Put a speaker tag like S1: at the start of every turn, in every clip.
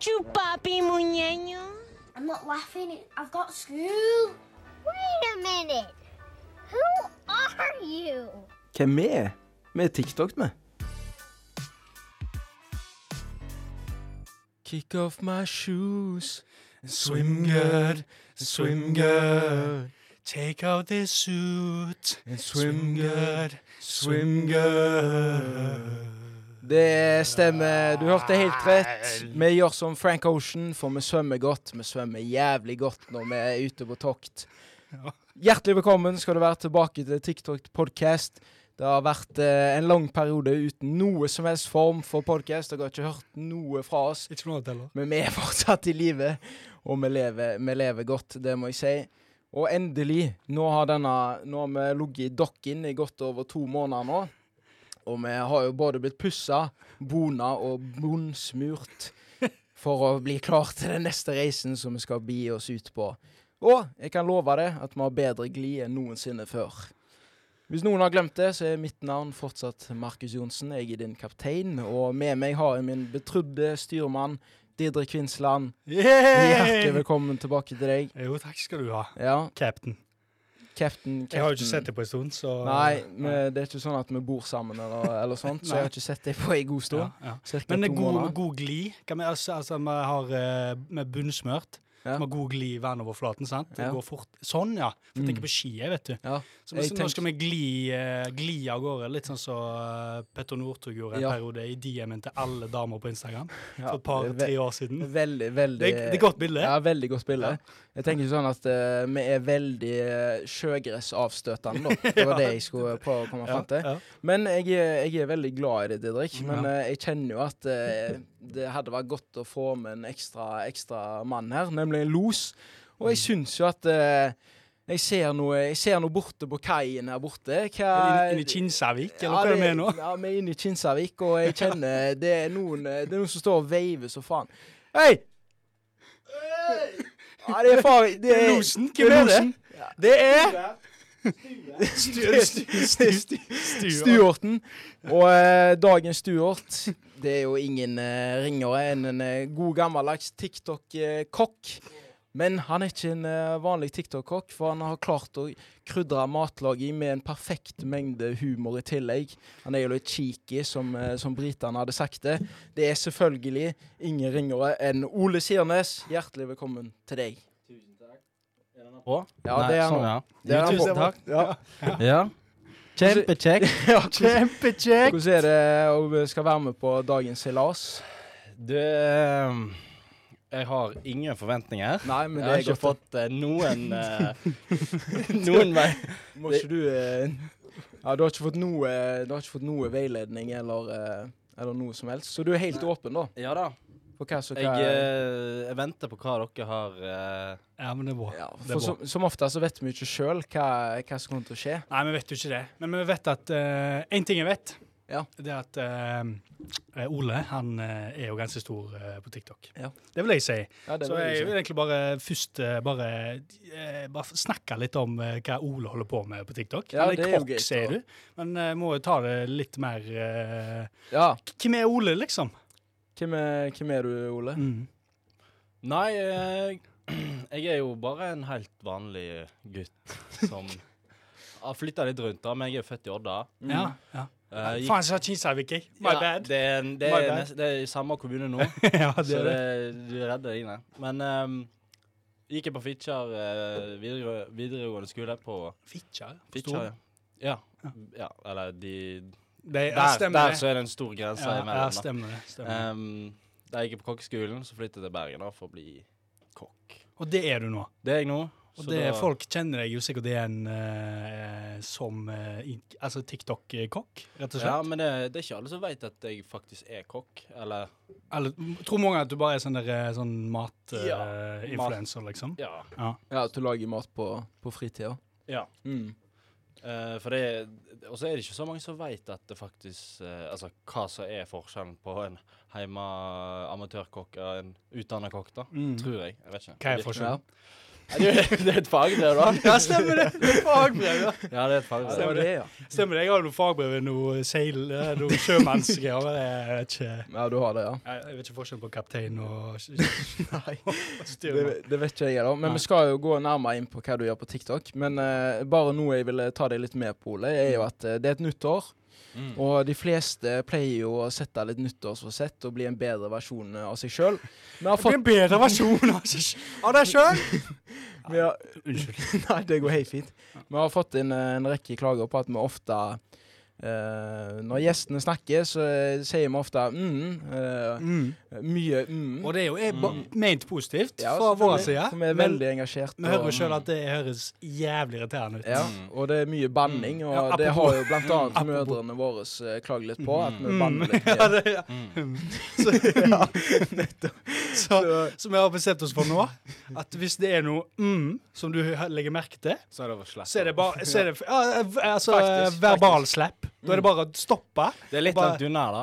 S1: Chupapi muñeño.
S2: I'm not laughing. I've got school.
S3: Wait a minute. Who are you?
S4: Hvem vi er? Vi er TikTok, vi.
S5: Kick off my shoes and swim good, swim good. Take out this suit and swim good, swim good.
S4: Det stemmer. Du hørte helt rett. Vi gjør som Frank Ocean, for vi svømmer godt. Vi svømmer jævlig godt når vi er ute på tokt. Hjertelig velkommen skal du være tilbake til TikTok podcast. Det har vært eh, en lang periode uten noe som helst form for podcast. Dere har ikke hørt noe fra oss,
S5: Ikke noe annet heller.
S4: men vi er fortsatt i live. Og vi lever, vi lever godt, det må jeg si. Og endelig, nå har, denne, nå har vi ligget i dokken i godt over to måneder nå. Og vi har jo både blitt pussa, bona og bunnsmurt for å bli klar til den neste reisen som vi skal bi oss ut på. Og jeg kan love deg at vi har bedre glid enn noensinne før. Hvis noen har glemt det, så er mitt navn fortsatt Markus Johnsen. Jeg er din kaptein, og med meg har jeg min betrodde styrmann Didrik Kvinsland. Hjertelig
S5: Yeah!
S4: velkommen tilbake til deg.
S5: Jo, takk skal du ha,
S4: Ja,
S5: cap'n.
S4: captain,
S5: Jeg har jo ikke sett deg på en stund, så
S4: Nei, vi, det er ikke sånn at vi bor sammen eller, eller sånt, så jeg har ikke sett deg på en god
S5: Ja,
S4: stund.
S5: ja.
S4: Cirka
S5: Men det er
S4: to
S5: god,
S4: måneder.
S5: god glid. Kan vi, altså, altså, vi har eh, med bunnsmørt.
S4: Ja.
S5: Vi har god glid i vernoverflaten. sant? Det
S4: Ja.
S5: går fort. Sånn, ja. For
S4: Mm.
S5: jeg tenker på skiet, vet du.
S4: Ja.
S5: Så nå,
S4: Jeg
S5: nå skal vi gli, eh, gli av gårde, litt sånn som eh, Petter Northug gjorde en
S4: Ja.
S5: periode i DM-en til alle damer på Instagram
S4: Ja,
S5: for et par-tre
S4: ve-
S5: år siden. Det,
S4: Veldig, veldig
S5: er- det er godt bilde.
S4: Ja, veldig godt bilde.
S5: Ja.
S4: Jeg tenker sånn at eh, vi er veldig eh, sjøgressavstøtende, da. Det var det jeg skulle prøve å komme fram til.
S5: ja.
S4: Men jeg er, jeg er veldig glad i det, Didrik. Men
S5: Ja.
S4: eh, jeg kjenner jo at eh, det hadde vært godt å få med en ekstra, ekstra mann her, nemlig en los. Og
S5: Mm.
S4: jeg syns jo at eh, jeg, ser noe, jeg ser noe borte på kaien her borte. Hva
S5: Inn inn i Kinsarvik, eller hva er det med nå?
S4: Ja, vi er inne i Kinsarvik, og jeg kjenner det er noen, eh, det er noen som står og veiver så faen. Hei! Ja, det er faen Det er
S5: Losen? Hvem er losen?
S4: Det er
S5: Stu- stu- stu- stu-
S4: Stuarten. Og eh, dagens Stuart, det er jo ingen eh, ringere enn en eh, god gammeldags TikTok-kokk. Men han er ikke en eh, vanlig TikTok-kokk, for han har klart å krydre matlaget med en perfekt mengde humor i tillegg. Han er jo litt cheeky, som, eh, som britene hadde sagt det. Det er selvfølgelig ingen ringere enn Ole Sirnes. Hjertelig velkommen til deg.
S6: Å?
S4: Ja, det er han
S6: sånn,
S4: Det er han
S5: Tusen
S4: på-
S5: takk.
S4: Ja.
S6: ja. ja. Altså, Kjempekjekk.
S4: Ja,
S5: Kjempekjekk!
S4: Hvordan er det om vi skal være med på dagens seilas?
S6: Du ehm, Jeg har ingen forventninger.
S4: Nei, men
S6: Jeg
S4: det
S6: har
S4: er
S6: ikke
S4: godt.
S6: fått eh, noen eh, Noen vei.
S4: Må ikke du eh, Ja, du har ikke fått noe, eh, du har ikke fått noe veiledning eller, eh, eller noe som helst. Så du er helt åpen, da?
S6: Ja da.
S4: For hva som
S6: Jeg,
S4: hva
S6: eh, jeg venter på hva dere har eh,
S5: Ja, men det er bra.
S4: ja,
S5: det er
S4: for
S5: bra.
S4: som, som ofte så vet vi ikke sjøl hva, hva som kommer til å skje.
S5: Nei, vi vet jo ikke det. Men vi vet at Én ting jeg vet,
S4: Ja.
S5: det er at eh, Ole han eh, er jo ganske stor eh, på TikTok.
S4: Ja.
S5: Det vil jeg si.
S4: Ja, det
S5: Så
S4: vil jeg
S5: jeg
S4: si.
S5: vil egentlig bare først eh, bare, eh, bare snakke litt om eh, hva Ole holder på med på TikTok.
S4: Ja,
S5: Han
S4: det er
S5: er
S4: jo
S5: kokk,
S4: greit, da.
S5: sier du. Men eh, må jo ta det litt mer eh,
S4: Ja.
S5: Hvem er Ole, liksom? Mm.
S4: Hvem er, hvem er du, Ole?
S6: Nei, jeg, jeg er jo bare en helt vanlig gutt som har flytta litt rundt, da. Men jeg er jo født i Odda.
S5: Ja. ja.
S6: Mm. Eh, gikk-
S5: Faen, så har Kinsarvik jeg. My
S6: Ja,
S5: bad.
S6: Det er, en- det,
S5: My
S6: er
S5: bad.
S6: nest- det er i samme kommune nå,
S5: ja,
S6: så det, du redder dine. Men ehm, gikk jeg på Fitjar eh, videre, videregående skole på
S5: Fitjar.
S6: Fitjar, ja. Ja, ja, eller de
S5: Det, ja,
S6: Der,
S5: stemmer
S6: der
S5: det.
S6: så er det en stor grense
S5: Ja, ja,
S6: imellom. da.
S5: stemmer det. Stemmer. det.
S6: Ehm, da jeg gikk på kokkeskolen, så flyttet jeg til Bergen da, for å bli kokk.
S5: Og det er du nå.
S6: Det er jeg nå.
S5: Og
S6: så
S5: det,
S6: da-
S5: folk kjenner deg jo sikkert igjen eh, som eh, i- altså TikTok-kokk, rett og slett.
S6: Ja, men det, det er ikke alle som vet at jeg faktisk er kokk. Eller
S5: Eller tror mange at du bare er sånn, der, eh, sånn
S6: Ja,
S5: matinfluenser, liksom.
S6: Ja.
S4: Ja, at du lager mat på, på fritida?
S6: ja.
S4: Mm.
S6: Eh, for det Og så er det ikke så mange som vet at det faktisk eh, Altså hva som er forskjellen på en heima amatørkokk og en utdanna kokk, da. Tror jeg. Jeg vet ikke.
S5: Mm. Hva er
S6: Det virker-
S5: forskjellen?
S6: Det er jo- det er et fagbrev, da.
S5: Ja, stemmer det. det er Fagbrev, ja.
S6: Ja, det er et fagbrev.
S4: Det var det, ja.
S5: Stemmer det. Jeg har noe fagbrev i noe seil, eh, noe sjømannsgreier. men Jeg vet ikke
S4: Ja, du har det, ja.
S5: jeg jeg vet ikke forskjellen på kaptein og Nei.
S4: Det, det vet ikke jeg heller. Men
S5: Nei.
S4: vi skal jo gå nærmere inn på hva du gjør på TikTok. Men eh, bare noe jeg ville ta deg litt med på, Ole, er
S5: Mm.
S4: jo at eh, det er et nytt år.
S6: Mm.
S4: Og de fleste pleier jo å sette litt nyttårsforsett og bli en bedre versjon eh, av seg sjøl. Vi har
S5: Bli
S4: fått
S5: en bedre versjon av seg- av deg sjøl!
S4: vi har,
S5: Unnskyld.
S4: Nei, det går helt fint. Vi har fått inn eh, en rekke klager på at vi ofte eh, Når gjestene snakker, så eh, sier vi ofte mm, eh, mye mm.
S5: Og det er jo er ba-
S6: Mm.
S5: ment positivt
S4: Ja,
S5: fra vår
S4: selvfølgelig,
S5: side.
S4: Som er
S5: men
S4: veldig engasjert.
S5: vi hører
S4: og-
S5: jo sjøl at det høres jævlig irriterende ut.
S4: Ja,
S6: Mm.
S4: og det er mye banning, og
S5: Mm. Ja,
S4: det
S5: apropos- Mm.
S4: har jo blant annet mødrene våre eh, klaget litt på, at vi banner litt
S5: Ja,
S4: mye.
S5: det, ja. Mm. Så, så, så vi har bestemt oss for nå at hvis det er noe mm, som du hø- legger merke til,
S6: Så er det å slette.
S5: så er det bare så er det, ja, altså,
S4: Faktisk,
S5: verbal slap. Da er det bare å stoppe.
S6: Det er litt
S5: Bare-
S6: langt unna, da.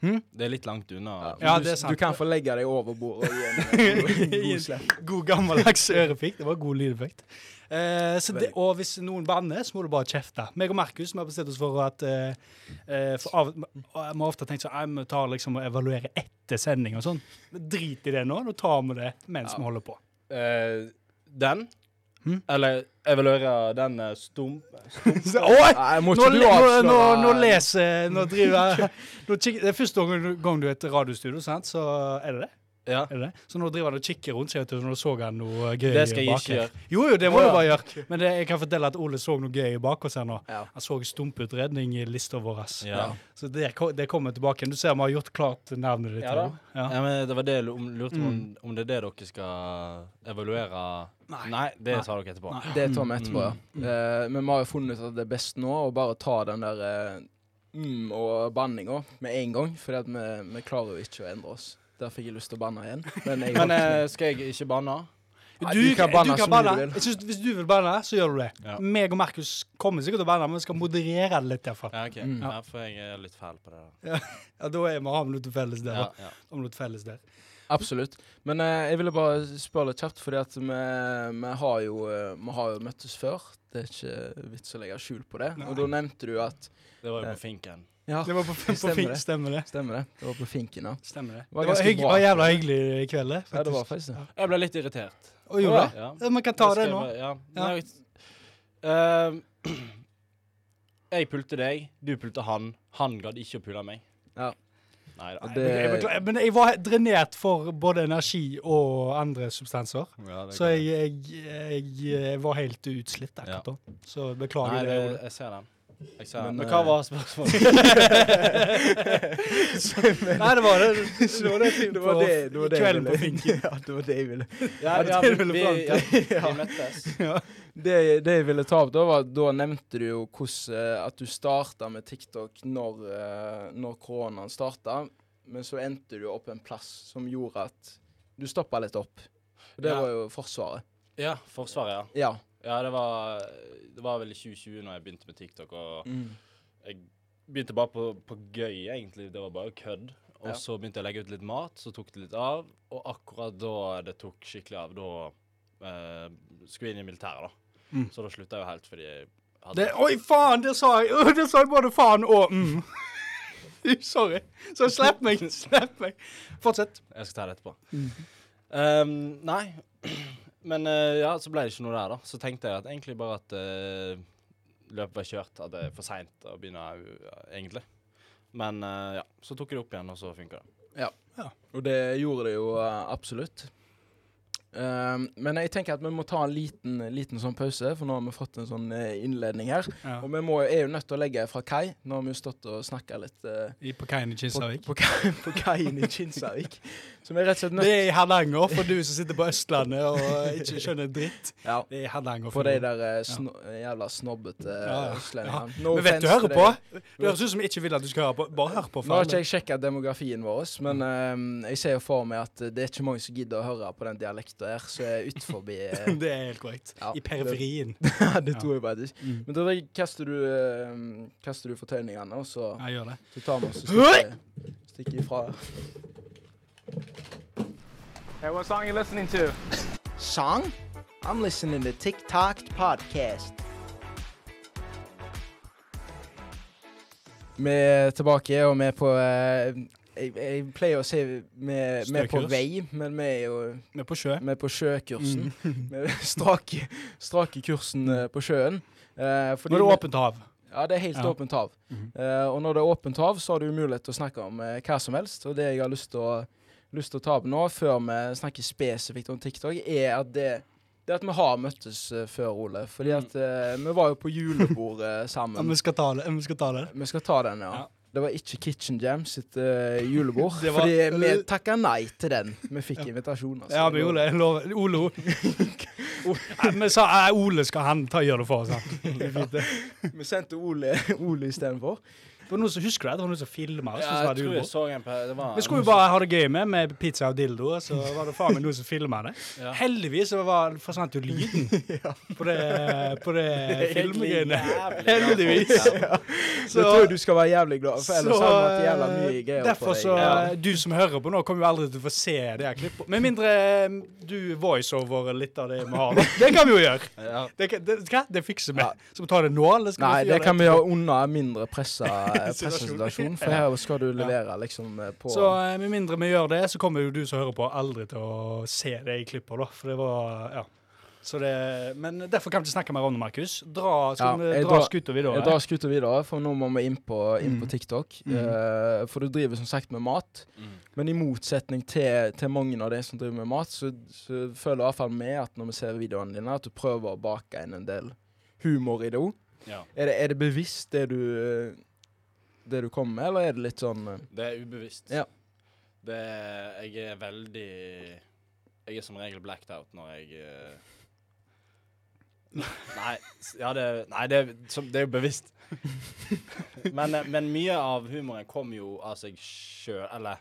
S5: Hm?
S6: Det er litt langt unna.
S5: Ja,
S4: Du-
S5: det er sant.
S4: Du kan få legge deg over bordet og gi en eh, god- god slipp.
S5: God gammeldags ørefik. Det var god lydeffekt. Eh, så det,
S4: Veldig.
S5: og hvis noen banner, så må du bare kjefte. Meg og Markus vi har bestemt oss for at eh, eh, for av, Vi har ofte tenkt sånn «Nei, Vi tar liksom og evaluerer etter sending og sånn. Men Drit i det nå. Nå tar vi det mens vi holder på.
S6: Eh, den?
S5: Hm?
S6: Eller evaluere den eh, stum...
S5: Så, Oi!
S4: Nei, må
S5: Nå,
S4: ikke du
S5: nå,
S4: avsløre
S5: nå, nå leser Nå driver jeg nå kikker, Det er første gang- gang du er i et radiostudio, sant? Så er det det?
S6: Ja.
S5: Er det det? Så nå driver han og kikker rundt seg, vet du, så nå så han noe gøy
S6: Det skal jeg
S5: bak
S6: ikke
S5: her.
S6: gjøre.
S5: Jo, jo, det må du bare gjøre. Men det, jeg kan fortelle at Ole så noe gøy bak oss her nå.
S4: Ja.
S5: Han så stumputredning i lista vår. ass.
S6: Ja.
S5: Så det, ko- det kommer tilbake. igjen. Du ser vi har gjort klart navnet ditt.
S6: Ja
S5: her
S6: da.
S5: nå. Ja.
S6: Ja, men det var det jeg lum- lurte på, om, om det er det dere skal evaluere Nei, det
S5: Mm. Nei.
S6: sa dere etterpå.
S4: Det tar vi etterpå, ja.
S5: Mm,
S4: Eh, Men vi har jo funnet ut at det er best nå å bare ta den der eh, mm og banninga med en gang, for vi, vi klarer jo ikke å endre oss. Der fikk jeg lyst til å banne igjen. Men jeg
S6: Men eh, skal jeg ikke banne?
S4: Nei, du kan banne så mye du vil.
S5: Jeg synes, hvis du vil banne, så gjør du det.
S6: Ja.
S5: Meg og Markus kommer sikkert til å banne, men vi skal moderere det litt. i hvert fall.
S6: Ja, ok.
S4: Mm.
S6: Ja, for jeg er litt fæl på det. da.
S5: Ja, da er vi har vi noe til felles der.
S6: Ja,
S5: da.
S6: ja.
S5: Har vi noe til felles der.
S4: Absolutt. Men eh, jeg ville bare spørre litt kjapt, fordi at vi, vi, har jo, eh, vi har jo møttes før. Det er ikke vits å legge skjul på det. Og da nevnte du at
S6: Det var jo
S5: Eh.
S4: Ja.
S6: på finken.
S4: Ja,
S5: Det var på, på,
S4: Ah, Stemmer
S5: fint,
S4: det.
S5: stemmer det.
S4: stemmer det. Det var på Finken, ja.
S5: Stemmer det. Det
S4: var
S5: var,
S4: ganske
S5: hygg,
S4: bra.
S5: var jævla hyggelig i kveld, det.
S4: Ja, det var faktisk
S5: faktisk.
S4: det.
S6: Jeg ble litt irritert.
S5: Og gjorde det.
S6: Ja.
S5: Ja, Man kan ta
S6: skal
S5: det
S6: jeg
S5: nå.
S6: bare- Ja.
S5: Ja.
S6: Nei, jeg- Ehm, jeg pulte deg, du pulte han. Han gadd ikke å pule meg.
S4: Ja.
S6: Nei da.
S4: Og
S5: Nei, jeg
S4: det,
S5: beklager, Men jeg var drenert for både energi og andre substanser.
S6: Ja, det
S5: Så
S6: går.
S5: jeg, jeg, jeg, jeg var helt utslitt akkurat da. Så beklager
S6: Nei,
S5: det.
S6: det,
S5: Ole.
S6: jeg ser den. Jeg ser den.
S4: Men,
S6: Men hva
S4: eh,
S6: var spørsmålet?
S5: Nei, det var det. Det var det,
S4: det var det, det, var det jeg
S5: kvelden på
S4: ville.
S5: Finken.
S4: Ja, det var det jeg ville.
S6: Ja,
S5: det
S6: ja,
S5: er
S6: vi,
S5: det vel
S6: vi,
S5: fram
S6: ja, vi møttes.
S4: Det, det jeg ville ta opp da, var at da nevnte du jo hvordan eh, at du starta med TikTok når, eh, når koronaen starta, men så endte du opp en plass som gjorde at du stoppa litt opp. Og det
S6: Ja.
S4: var jo Forsvaret.
S6: Ja, Forsvaret, ja.
S4: Ja.
S6: Ja, det var, det var vel i 2020 når jeg begynte med TikTok, og
S4: Mm.
S6: jeg begynte bare på, på gøy, egentlig. Det var bare kødd. Og
S4: Ja.
S6: så begynte jeg å legge ut litt mat, så tok det litt av. Og akkurat da det tok skikkelig av, da eh, skulle jeg inn i militæret, da.
S5: Mm.
S6: Så da slutta jeg jo helt fordi jeg hadde
S5: Det, oi, faen! Det sa jeg! Øh, Det sa jeg både faen og mm. Sorry. Så slipp meg. Slipp meg. Fortsett.
S6: Jeg skal ta det etterpå.
S5: Mm.
S6: Ehm, nei. Men eh, ja, så ble det ikke noe der, da. Så tenkte jeg at egentlig bare at eh, løpet var kjørt. At det er for seint å begynne, eh, egentlig. Men eh, ja, så tok jeg det opp igjen, og så funka det.
S4: Og det gjorde det jo eh, absolutt. Ehm, men jeg tenker at vi må ta en liten, liten sånn pause, for nå har vi fått en sånn eh, innledning her.
S5: Ja.
S4: Og vi må, er jo nødt til å legge fra kai. Nå har vi jo stått og snakka litt eh,
S5: I- På kaien i
S4: på,
S5: Kinsarvik.
S4: på, kai- på kaien i Kinsarvik. Så vi er rett og slett nødt
S5: Det er i Hardanger, for du som sitter på Østlandet og ikke skjønner dritt.
S4: Ja.
S5: Det er i Hardanger.
S4: For de der eh, sno jævla snobbete
S5: Ja, ja.
S4: eh, østlendingene.
S5: Ja.
S4: No
S5: men vet du,
S4: offense
S5: hører
S4: til
S5: på.
S4: deg.
S5: Det høres ut som jeg ikke vil at du skal høre på. Bare hør på.
S4: Nå har ikke
S5: faen.
S4: jeg sjekka demografien vår, men eh, jeg ser jo for meg at det er ikke mange som gidder å høre på den dialekta her, så jeg er utenfor uh,
S5: Det er helt korrekt.
S4: Ja.
S5: I periferien.
S4: Det tror jeg faktisk.
S5: Mm.
S4: Men da kaster du, eh, kaster du fortøyningene, og så,
S5: Jeg gjør det.
S4: så tar vi oss og stikker, stikker ifra.
S7: Hey, what song you listening to?
S4: Sang? I'm listening to TikTok podcast. Vi er tilbake, og vi er på eh, jeg, jeg pleier å si vi, vi er på
S6: Støkurs.
S4: vei, men vi er jo
S5: Vi er på sjø.
S4: vi er på sjøkursen.
S5: Mm.
S4: Vi strake, strake kursen eh, på sjøen. Eh, fordi
S5: Nå er det
S4: vi-
S5: åpent hav.
S4: ja, det er helt
S5: Ja.
S4: åpent hav.
S5: Mhm.
S4: Eh, og når det er åpent hav, så har du mulighet til å snakke om eh, hva som helst. Og det jeg har lyst til å, lyst til å ta opp nå, før vi snakker spesifikt om TikTok, er at det, det at vi har møttes eh, før, Ole. Fordi at eh, vi var jo på julebordet
S5: Mm. Ja,
S4: sammen.
S5: vi skal ta det. Vi skal ta det.
S4: Vi skal ta den, ja.
S5: Ja.
S4: Det var ikke Kitchen Jam sitt eh, julebord.
S5: Det var- eh,
S4: fordi vi takka nei til den. Vi fikk invitasjon. altså.
S5: Ja, men Ole, jeg lover. Ole, Ole. Nei, Vi sa eh, Ole skal han ta gjøre det for oss. han. Det er fint, det.
S4: Vi sendte Ole, Ole istedenfor.
S5: Det var noen som husker det. Det var noen som filma oss. og så
S6: Ja,
S5: var
S6: jeg
S5: det
S6: tror jeg
S5: julebord.
S6: så en på det var,
S5: Vi skulle jo bare ha det gøy med, med pizza og dildo, og så var det faen meg noen som filma det.
S6: Ja.
S5: Heldigvis så var, forsvant jo lyden på det, på det
S6: Egentlig
S5: filmgreiene.
S6: jævlig bra.
S5: Heldigvis.
S6: Ja.
S4: det tror jeg du skal være jævlig glad for, ellers hadde det vært jævla mye greier
S5: Derfor
S4: for deg.
S5: eh, så eh,
S6: Ja.
S5: Du som hører på nå, kommer jo aldri til å få se det her klippet. Med mindre eh, du voiceover litt av det vi har. Det kan vi jo gjøre.
S6: Ja.
S5: Det, kan- det, hva? det fikser vi.
S4: Ja.
S5: Skal vi ta det nå, eller skal
S4: Nei,
S5: vi
S4: det kan vi gjøre under en mindre pressa pressesituasjon, for her skal du
S5: Ja.
S4: levere liksom eh, på
S5: Så eh, med mindre vi gjør det, så kommer jo du som hører på aldri til å se det i klippet, da. For det var Ja. Så det, men derfor kan vi ikke snakke mer om det, Markus. Dra,
S4: Ja,
S5: skal vi
S4: jeg
S5: dra
S4: drar-
S5: skuta videre.
S4: Jeg drar skuta videre, for nå må vi inn på, inn på
S5: Mm.
S4: TikTok.
S5: Mhm.
S4: eh, for du driver som sagt med mat,
S6: Mm.
S4: men i motsetning til, til mange av de som driver med mat, så, så føler jeg iallfall med at når vi ser videoene dine, at du prøver å bake inn en del humor i det òg.
S6: Ja.
S4: Er, det- er det bevisst det du, eh, det du kommer med, eller er det litt sånn eh,
S6: Det er ubevisst.
S4: Ja.
S6: Det er, jeg er veldig Jeg er som regel blacked out når jeg eh, Nei, s- ja, det, nei det, er som, det er jo bevisst. Men, eh, men mye av humoren kommer jo av seg sjøl, eller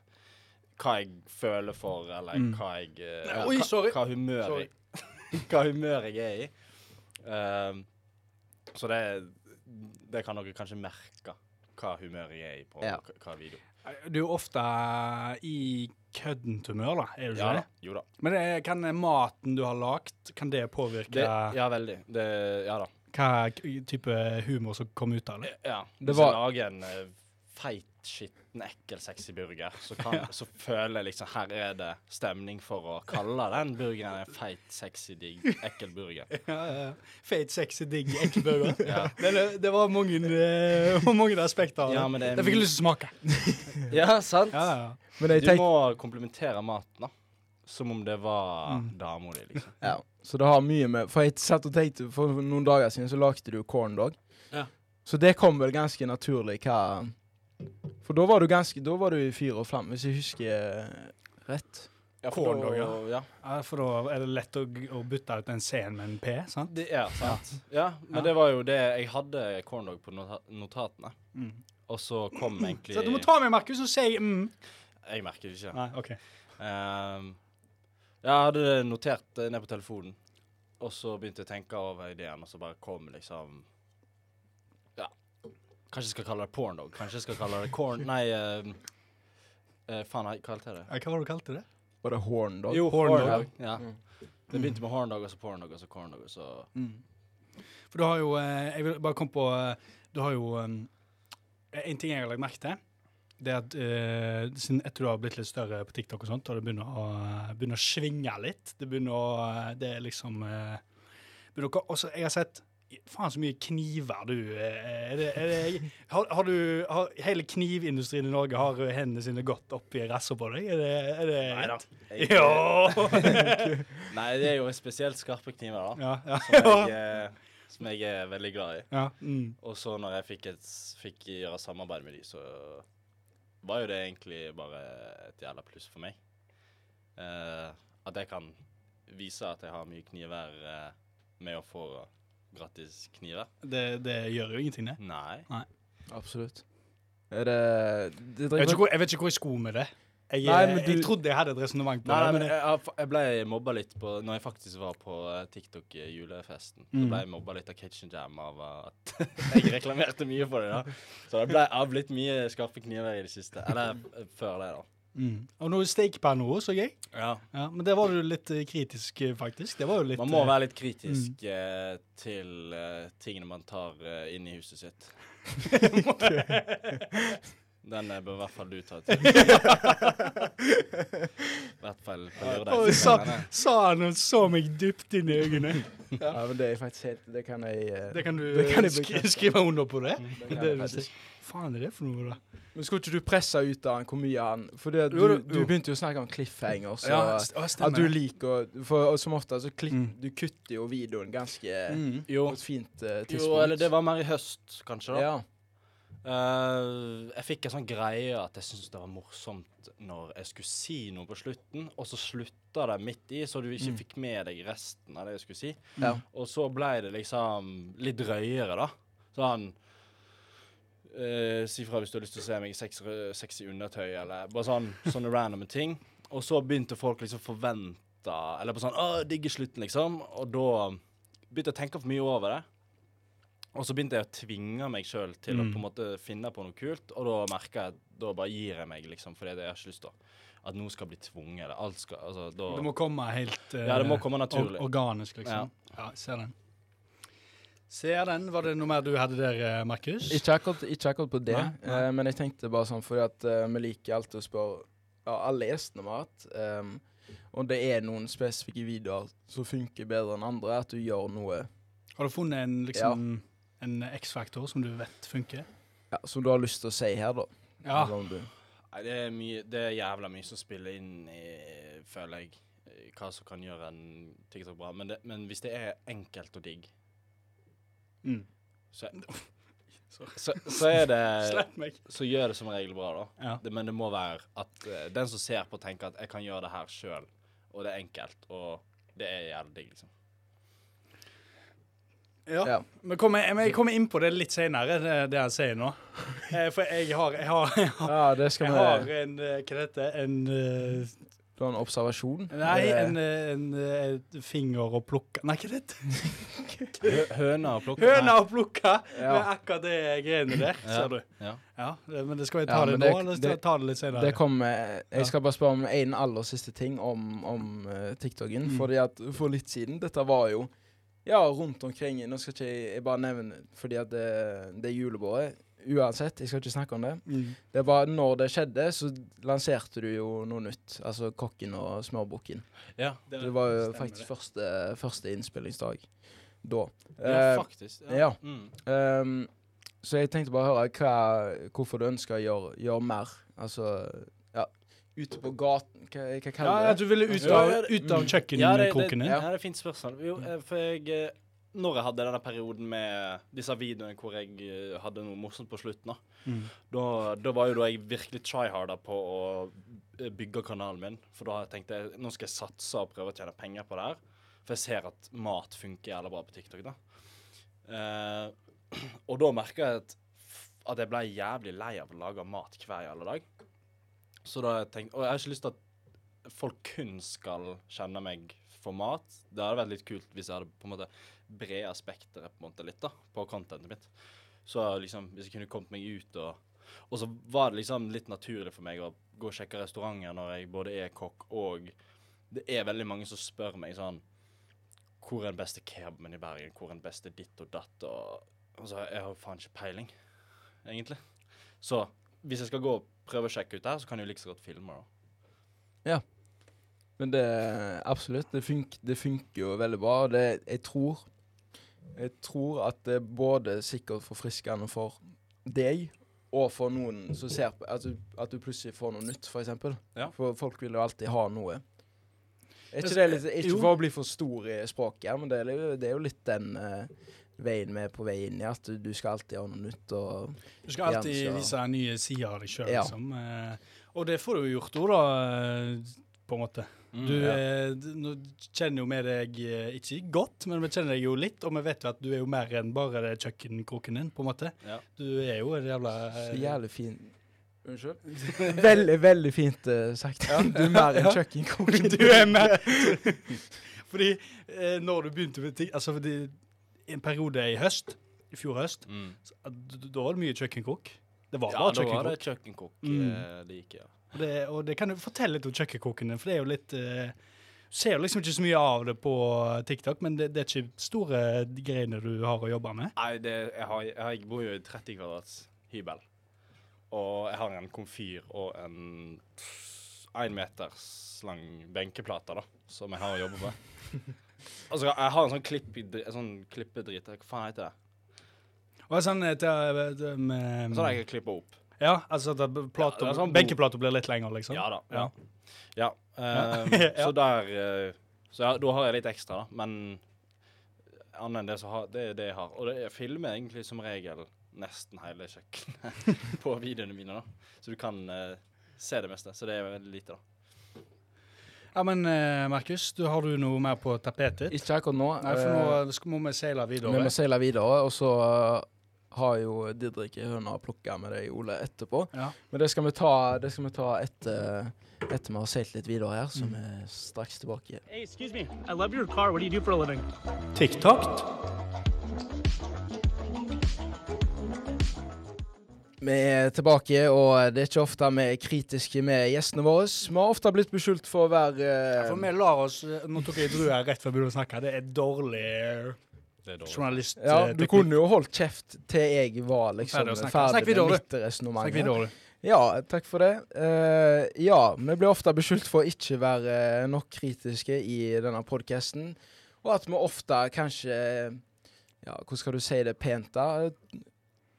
S6: hva jeg føler for, eller
S5: Mm.
S6: hva jeg eh,
S5: Nei,
S6: eller
S5: oi,
S6: hva-
S5: sorry.
S6: Hva humør
S5: Sorry.
S6: jeg, hva humør jeg er i. Um, så det, det kan dere kanskje merke, hva humør jeg er i på
S4: Ja.
S6: hva- hva video.
S5: Du er jo ofte i køddent humør, da. Er du ikke
S6: Ja da.
S5: det?
S6: Jo da.
S5: Men det, kan maten du har lagd, kan det påvirke
S6: Det, ja, veldig. Det, ja da.
S5: hva k- type humor som kommer ut av det?
S6: Eh, Ja.
S4: Det
S6: Hvis
S4: var-
S6: jeg lager en eh, feit, skitten, ekkel, sexy burger, så, kan, så føler jeg liksom her er det stemning for å kalle den burgeren en feit, sexy, digg, ekkel burger.
S5: Ja, ja, ja. Feit, sexy, digg, ekkel burger.
S6: Ja.
S5: det, det var mange, eh, mange aspekter av det.
S6: Ja, men det er
S5: det fikk
S6: mye-
S5: jeg lyst til å smake.
S6: Ja, sant?
S5: Ja, ja, ja.
S4: Men jeg
S6: Du
S4: tenker
S6: må komplementere maten, da. Som om det var
S5: Mm.
S6: dama di, liksom.
S4: Ja, så det har mye med For jeg satt og tenkte For noen dager siden så lagde du corndog.
S5: Ja.
S4: Så det kom vel ganske naturlig hva For da var du ganske Da var du i fyr og flamme, hvis jeg husker rett.
S6: Ja, for
S5: Corndog,
S6: da-
S5: ja.
S6: ja.
S5: Ja, for da er det lett å, g- å bytte ut en C-en med en P, sant?
S6: Det er sant. Ja, men
S5: Ja.
S6: det var jo det Jeg hadde corndog på nota notatene,
S5: Mm.
S6: og så kom egentlig
S5: Så du må ta meg, Markus, og si mm.
S6: Jeg merker det ikke.
S5: Nei, ok.
S6: Ehm, ja, jeg hadde det notert eh, ned på telefonen, og så begynte jeg å tenke over ideen, og så bare kom liksom Ja. Kanskje jeg skal kalle det porndog. Kanskje jeg skal kalle det corn... Nei, ehm, eh, faen, hva kalte jeg det?
S5: Ja, Hva var det du kalte det?
S4: Var det horndog?
S6: Jo,
S5: horndog.
S6: Ja. Det begynte med horndog, og så porndog, og så corndog, og så
S5: Mm. For du har jo eh, Jeg vil bare komme på eh, Du har jo eh, En ting jeg har lagt merke til, det er at eh, siden etter du har blitt litt større på TikTok og sånt, og det begynner å, eh, begynner å svinge litt Det begynner å eh, Det er liksom eh, begynner å, ko- også, Jeg har sett Faen, så mye kniver du eh, er det, er det, har, har du har, Hele knivindustrien i Norge har eh, hendene sine godt oppi rassa på deg? Er det, er det
S6: Neida. Jeg- eh,
S5: Ja.
S6: Nei, det er jo spesielt skarpe kniver, da.
S5: ja, ja,
S6: Som jeg, eh, som jeg er veldig glad i.
S5: ja. Mm.
S6: Og så når jeg fikk, et, fikk gjøre samarbeid med de, så var jo det egentlig bare et jævla pluss for meg. Eh, at jeg kan vise at jeg har mye kniver eh, med å få gratis kniver.
S5: Det, det gjør jo ingenting, det.
S6: Nei.
S4: Absolutt. Er det, det
S5: Jeg vet, ikke hvor, jeg vet ikke hvor jeg sko med det. Jeg, eh,
S4: Nei, men
S5: jeg
S4: du-
S5: trodde jeg hadde et resonnement på
S6: Nei,
S5: det.
S6: men
S5: Men
S6: jeg, jeg ble mobba litt på Når jeg faktisk var på eh, TikTok-julefesten. Så
S5: Mm.
S6: ble jeg mobba litt av Kitchen Jam av eh, at jeg reklamerte mye for det. da Så det ble, jeg har blitt mye skarpe kniver i det siste. Eller eh, før det, da.
S5: Mm. Og noe stekepanne òg, så jeg.
S6: Ja.
S5: Ja, men der var du litt eh, kritisk, eh, faktisk. Det var jo litt
S6: Man må
S5: eh,
S6: være litt kritisk eh, til eh, tingene man tar eh, inn i huset sitt. Den eh, bør i hvert fall du ta til. I hvert fall på
S5: Oi, sa,
S6: lørdag.
S5: sa han og så meg dypt inn i øynene.
S4: Ja, men det er faktisk helt Det kan jeg eh,
S5: Det kan du
S4: Det kan jeg
S5: eh, skri
S4: bekrefte.
S5: skrive under på det.
S4: det
S5: det,
S4: kan
S5: det
S4: jeg faktisk.
S5: Faen er det for noe, da?
S4: Men skulle ikke du presse ut av han hvor mye han For det, du,
S5: Jo, jo.
S4: du begynte jo å snakke om cliffhanger, så
S5: st- å,
S4: At du liker å For og som ofte så klipp,
S5: Mm.
S4: Du kutter jo videoen ganske
S5: Mm.
S6: Jo.
S4: På et fint eh, tidspunkt.
S6: jo, eller det var mer i høst, kanskje. da.
S4: Ja.
S6: Eh, jeg fikk en sånn greie at jeg syntes det var morsomt når jeg skulle si noe på slutten, og så slutta det midt i, så du ikke
S5: Mm.
S6: fikk med deg resten av det jeg skulle si.
S4: Ja.
S6: Og så ble det liksom litt drøyere, da. Sånn eh, Si fra hvis du har lyst til å se meg i sex- sexy undertøy, eller bare sånn sånne randome ting. Og så begynte folk liksom å forvente Eller på sånn Å, digger slutten, liksom. Og da begynte jeg å tenke for mye over det. Og så begynte jeg å tvinge meg sjøl til
S5: Mm.
S6: å på en måte finne på noe kult, og da merka jeg at da bare gir jeg meg, liksom, fordi det jeg har ikke lyst til. At noe skal bli tvunget, eller alt skal Altså, da
S5: Det må komme helt eh,
S6: Ja, det må komme naturlig.
S5: or- organisk, liksom. Ja. ser den. Ser den. Var det noe mer du hadde der, eh, Markus?
S4: Ikke akkurat, ikke akkurat på det,
S5: Nei, nei.
S4: eh, men jeg tenkte bare sånn fordi at eh, vi liker alltid å spørre ja, alle gjestene vi har hatt, ehm, om det er noen spesifikke videoer som funker bedre enn andre, at du gjør noe
S5: Har du funnet en, liksom, en X-faktor som du vet funker?
S4: ja, som du har lyst til å si her, da.
S5: Ja.
S4: Eller om du,
S6: Nei, det er, mye, det er jævla mye som spiller inn, i, føler jeg, i hva som kan gjøre en TikTok bra. Men, det, men hvis det er enkelt og digg,
S5: Mm.
S6: så,
S5: Sorry.
S6: så, så er det
S4: Eh,
S5: Slipp meg.
S6: Så gjør det som regel bra, da.
S5: Ja.
S6: Det, men det må være at eh, den som ser på, tenker at 'jeg kan gjøre det her sjøl', og det er enkelt, og det er jævlig digg, liksom.
S5: Ja.
S4: Ja.
S5: Men kommer, jeg- men jeg kommer inn på det litt senere, det, det han sier nå. Eh, For jeg har, jeg har, jeg har,
S4: ja, det skal
S5: jeg
S4: vi
S5: har en eh, Hva heter det? En eh,
S4: Du har en observasjon?
S5: Nei,
S4: Eh,
S5: en, eh, en, eh, et finger å plukke Nei, hva heter det?
S6: Høna og plukke
S5: Høna å plukke!
S4: Ja.
S5: Med akkurat det greiene der, ser du.
S6: Ja.
S5: Ja, det- Men det skal vi ta
S4: Ja,
S5: det
S4: men
S5: nå,
S4: det-
S5: eller skal
S4: det-
S5: vi ta det litt senere?
S4: Det kommer
S5: Ja.
S4: Jeg skal bare spørre om en aller siste ting om, om eh, TikToken. Fordi at for litt siden Dette var jo ja, rundt omkring Nå skal ikke jeg, jeg bare nevne fordi at det, det er julebordet. Uansett, jeg skal ikke snakke om det.
S5: Mm.
S4: Det var Når det skjedde, så lanserte du jo noe nytt. Altså Kokken og Smørbukken.
S6: Ja.
S4: Det var jo
S5: Stemmer
S4: faktisk første, første innspillingsdag da.
S6: ja,
S4: Eh,
S6: faktisk.
S4: ja.
S6: Mm.
S4: Ehm, så jeg tenkte bare høre hva, hvorfor du ønsker å gjøre, gjøre mer. Altså ja, ute på gaten. Hva, hva
S5: Ja,
S4: kaller
S5: ja,
S4: du det?
S5: du ville ut
S6: Ja,
S5: av,
S6: ja, det-
S5: ut av
S6: Ja, det, det,
S5: kjøkkenkrokene?
S6: ja, det er et fint spørsmål. Jo, eh, for jeg eh, Når jeg hadde denne perioden med disse videoene hvor jeg eh, hadde noe morsomt på slutten, da,
S5: Mm.
S6: da, da var jo da jeg virkelig tryharda på å eh, bygge kanalen min. For da tenkte jeg eh, nå skal jeg satse og prøve å tjene penger på det her. For jeg ser at mat funker jævla bra på TikTok, da. Eh, og da merka jeg at, at jeg ble jævlig lei av å lage mat hver jævla dag. Så da tenkte Og jeg har ikke lyst til at folk kun skal kjenne meg for mat. Det hadde vært litt kult hvis jeg hadde på en måte breda spekteret på en måte litt da, på contentet mitt. Så liksom, hvis jeg kunne kommet meg ut og Og så var det liksom litt naturlig for meg å gå og sjekke restauranter når jeg både er kokk og Det er veldig mange som spør meg sånn Hvor er den beste kebaben i Bergen? Hvor er den beste ditt og datt? Og, og så jeg har jo faen ikke peiling, egentlig. Så hvis jeg skal gå og prøve å sjekke ut det her, så kan jeg jo like så godt filme, da.
S4: Men det absolutt. Det, funk, det funker jo veldig bra. og Det, jeg tror Jeg tror at det er både sikkert forfriskende for deg og for noen som ser på At du, at du plutselig får noe nytt, for eksempel.
S6: Ja.
S4: For folk vil jo alltid ha noe. Er ikke det litt Ikke
S5: Altså, Jo.
S4: for å bli for stor i språket, her, men det er, jo- det er jo litt den eh, veien vi er på vei inn i, at du, du skal alltid ha noe nytt og
S5: Du skal alltid
S4: Igjen, så-
S5: vise nye sider av deg sjøl,
S4: Ja.
S5: liksom. Eh, Og det får du jo gjort òg, da, på en måte. Du
S6: Mm. ja.
S5: eh, d- nå kjenner jo vi deg eh, ikke godt, men vi kjenner deg jo litt, og vi vet jo at du er jo mer enn bare det kjøkkenkroken din, på en måte.
S6: Ja.
S5: Du er jo en jævla eh,
S4: Så jævlig fin Unnskyld? Veldig, veldig fint eh, sagt. Du er mer enn
S5: Ja.
S4: kjøkkenkok.
S5: Du er med! Fordi eh, når du begynte med ting Altså, fordi en periode i høst, i fjor høst,
S6: Mm.
S5: så- da var det mye kjøkkenkrok. Det var
S6: Ja,
S5: bare
S6: da var
S5: kjøkkenkrok.
S6: det kjøkkenkokk
S5: Mm.
S6: eh, det gikk, ja.
S5: Og det, og det kan du fortelle litt om kjøkkenkokkene, for det er jo litt eh, Du ser jo liksom ikke så mye av det på TikTok, men det, det er ikke store greiene du har å jobbe med.
S6: Nei, det, jeg, har, jeg, har, jeg bor jo i 30 kvadrats hybel. Og jeg har en komfyr og en én meters lang benkeplate da, som jeg har å jobbe med. Altså, jeg har en sånn, klipp, en sånn klippedrit Hva faen heter det?
S5: Og sånn eh, til, eh, til- med,
S6: Sånn jeg kan klippe opp.
S5: Ja, altså at plato,
S6: Ja, det er sånn bo-
S5: benkeplato blir litt lengre, liksom.
S6: Ja da.
S5: Ja.
S6: Ja. ja. ehm,
S5: Ja.
S6: Så der eh, Så ja, da har jeg litt ekstra, da. Men annet enn det, så har det er det jeg har. Og det, jeg filmer egentlig som regel nesten hele kjøkkenet på videoene mine, da. Så du kan eh, se det meste. Så det er veldig lite, da.
S5: Ja, men eh, Markus, du, har du noe mer på tapetet?
S4: Ikke akkurat nå.
S5: Nei, for nå skal- må vi seile
S4: Eh, Vi
S5: videre.
S4: må seile videre, og så uh, har jo Didrik ei høne å plukke med deg, Ole, etterpå.
S5: Ja.
S4: Men det skal vi ta, det skal vi ta etter, etter vi har seilt litt videre her, så vi er straks tilbake.
S7: Hey, excuse me. I love your car. What do you do for a living?
S5: TikTok?
S4: Vi er tilbake, og det er ikke ofte vi er kritiske med gjestene våre. Vi har ofte blitt beskyldt for å være
S5: For
S4: uh,
S5: vi lar oss eh, Nå tok jeg drua rett før vi begynte å snakke. Det er dårlig eh,
S6: Det er dårlig.
S5: journalist...
S4: ja,
S5: eh,
S4: du
S5: teknikk.
S4: kunne jo holdt kjeft til jeg var liksom
S5: Ferdig å snakke. Snakk
S4: ferdig
S5: videre,
S4: med
S5: du.
S4: mitt resonnement.
S5: Snakk videre.
S4: Ja, takk for det. Eh, ja, vi blir ofte beskyldt for å ikke være eh, nok kritiske i denne podkasten, og at vi ofte kanskje Ja, hvordan skal du si det pent, da?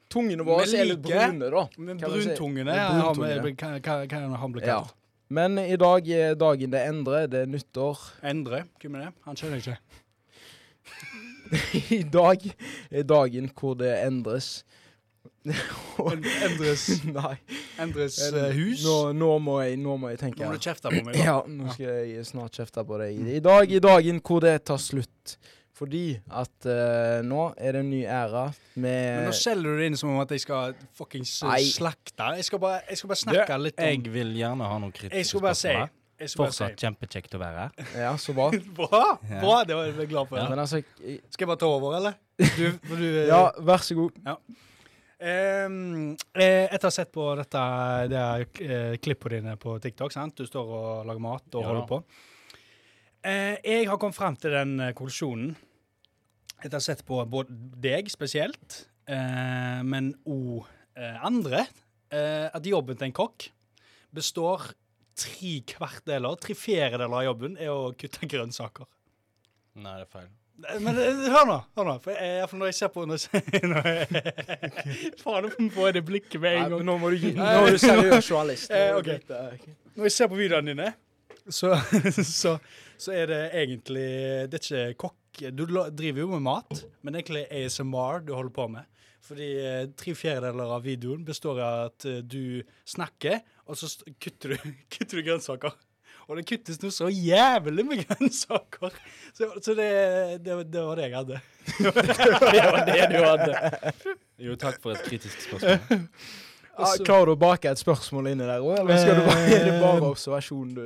S4: Tungene våre
S5: Vi
S4: er litt
S5: ligger.
S4: brune, da.
S5: Men
S4: kan vi si.
S5: bruntungene
S4: Men
S5: har vi-
S4: bruntungene.
S5: kan- kan kan han bli
S4: Ja.
S5: kalt?
S4: Men i dag er dagen det endrer. Det er nyttår.
S5: Endre? Hvem er det? Han skjønner jeg ikke.
S4: I dag er dagen hvor det endres.
S5: Endres,
S4: Nei.
S5: endres eh, hus?
S4: Nå, nå, må jeg, nå må jeg tenke.
S5: Nå må du kjefte på meg. da.
S4: Ja, nå skal jeg snart kjefte på deg. I dag i dagen hvor det tar slutt. Fordi at eh, nå er det en ny æra
S5: Men
S4: med
S5: nå selger du det inn som om at jeg skal fuckings eh,
S4: Eh, Nei.
S5: slakte. Jeg skal bare, jeg skal bare snakke litt om
S6: vil gjerne ha noen
S5: Jeg skulle bare si jeg skulle bare si.
S6: kjempekjekt å være her.
S4: Ja, så bra.
S5: Bra! bra, Det var jeg glad for.
S4: Men altså i-
S5: Skal jeg bare ta over, eller? Du, for du, eh,
S4: Ja, vær så god.
S5: Ehm, eh, etter å ha sett på dette det er, eh, klippene dine på TikTok, sant? du står og lager mat og
S6: Ja.
S5: holder på. Eh, jeg har kommet frem til den eh, konklusjonen etter å ha sett på både deg spesielt, eh, men òg eh, andre, eh, at jobben til en kokk består tre kvartdeler, tre fjerdedeler av jobben er å kutte grønnsaker.
S6: Nei, det er feil.
S5: Nei, Men eh, hør nå, hør nå. For jeg, for når jeg ser på når jeg, når jeg, Faen, nå får jeg det blikket med en gang.
S4: nå må du gi
S5: nå er du seriøs
S4: journalist.
S5: Eh, ok. Når jeg ser på videoene dine, så, så, så er det egentlig Det er ikke kokk Du la- driver jo med mat, men det er egentlig ASMR du holder på med. Fordi eh, tre fjerdedeler av videoen består av at eh, du snakker, og så st- kutter du, kutter du grønnsaker. Og det kuttes nå så jævlig med grønnsaker. Så, så det, det, det var det jeg hadde. det var det du hadde.
S6: Jo, takk for et kritisk spørsmål.
S4: Ah, klarer du å bake et spørsmål inni der òg, eller skal du bare, er det bare observasjon du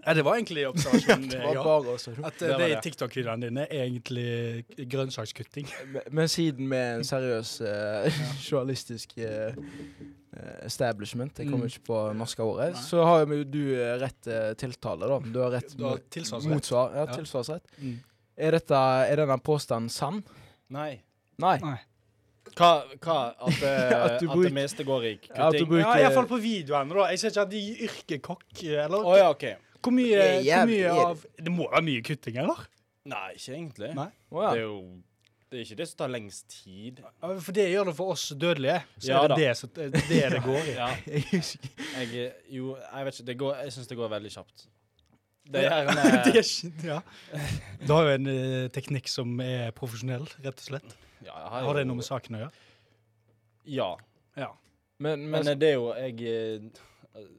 S5: Ja, det var egentlig observasjonen.
S4: det
S5: ja.
S4: var bare observasjon.
S5: At
S6: Det
S5: eh,
S6: var
S5: de
S6: det.
S5: TikTok-videoene dine er egentlig grønnsakskutting.
S4: Men- Men siden vi er en seriøs eh, journalistisk eh, eh, establishment, jeg
S5: Mm.
S4: kommer ikke på norske ordet, så har jo du eh, rett eh, tiltale, da. Du har rett
S5: Du har
S4: mo-
S5: tilsvarsrett.
S4: motsvar. Ja,
S5: Ja.
S4: tilsvarsrett.
S5: Mm.
S4: Er, dette, er denne påstanden sann?
S6: Nei.
S4: Nei.
S6: Hva, hva at, det,
S4: At
S6: at,
S4: du
S6: det
S4: bruker-
S6: meste går i
S4: Ja, at du
S6: kutting?
S4: bruker-
S5: Ja, iallfall på videoene. da. Jeg ser ikke at de er yrkekokk, eller?
S6: Å ja, OK.
S5: Hvor mye,
S4: Det er
S5: hvor
S4: jævlig-
S5: mye av Det må være mye kutting, eller?
S6: Nei, ikke egentlig.
S5: Nei.
S4: Å ja.
S6: Det er jo det er ikke det som tar lengst tid.
S5: Ja, For det gjør det for oss dødelige. Så
S6: Ja
S5: er
S6: da.
S5: det det, som- eh, det, er det det går i.
S6: Ja, jeg, jo, jeg vet ikke. Det går, jeg syns det går veldig kjapt. Det er
S5: Det
S6: gjerne
S5: er ikke- ja. Du har jo en eh, teknikk som er profesjonell, rett og slett.
S6: ja, jeg
S5: Har det noe med saken å gjøre?
S6: Ja.
S5: Ja.
S4: Men, men,
S6: Men eh, det er jo Jeg eh,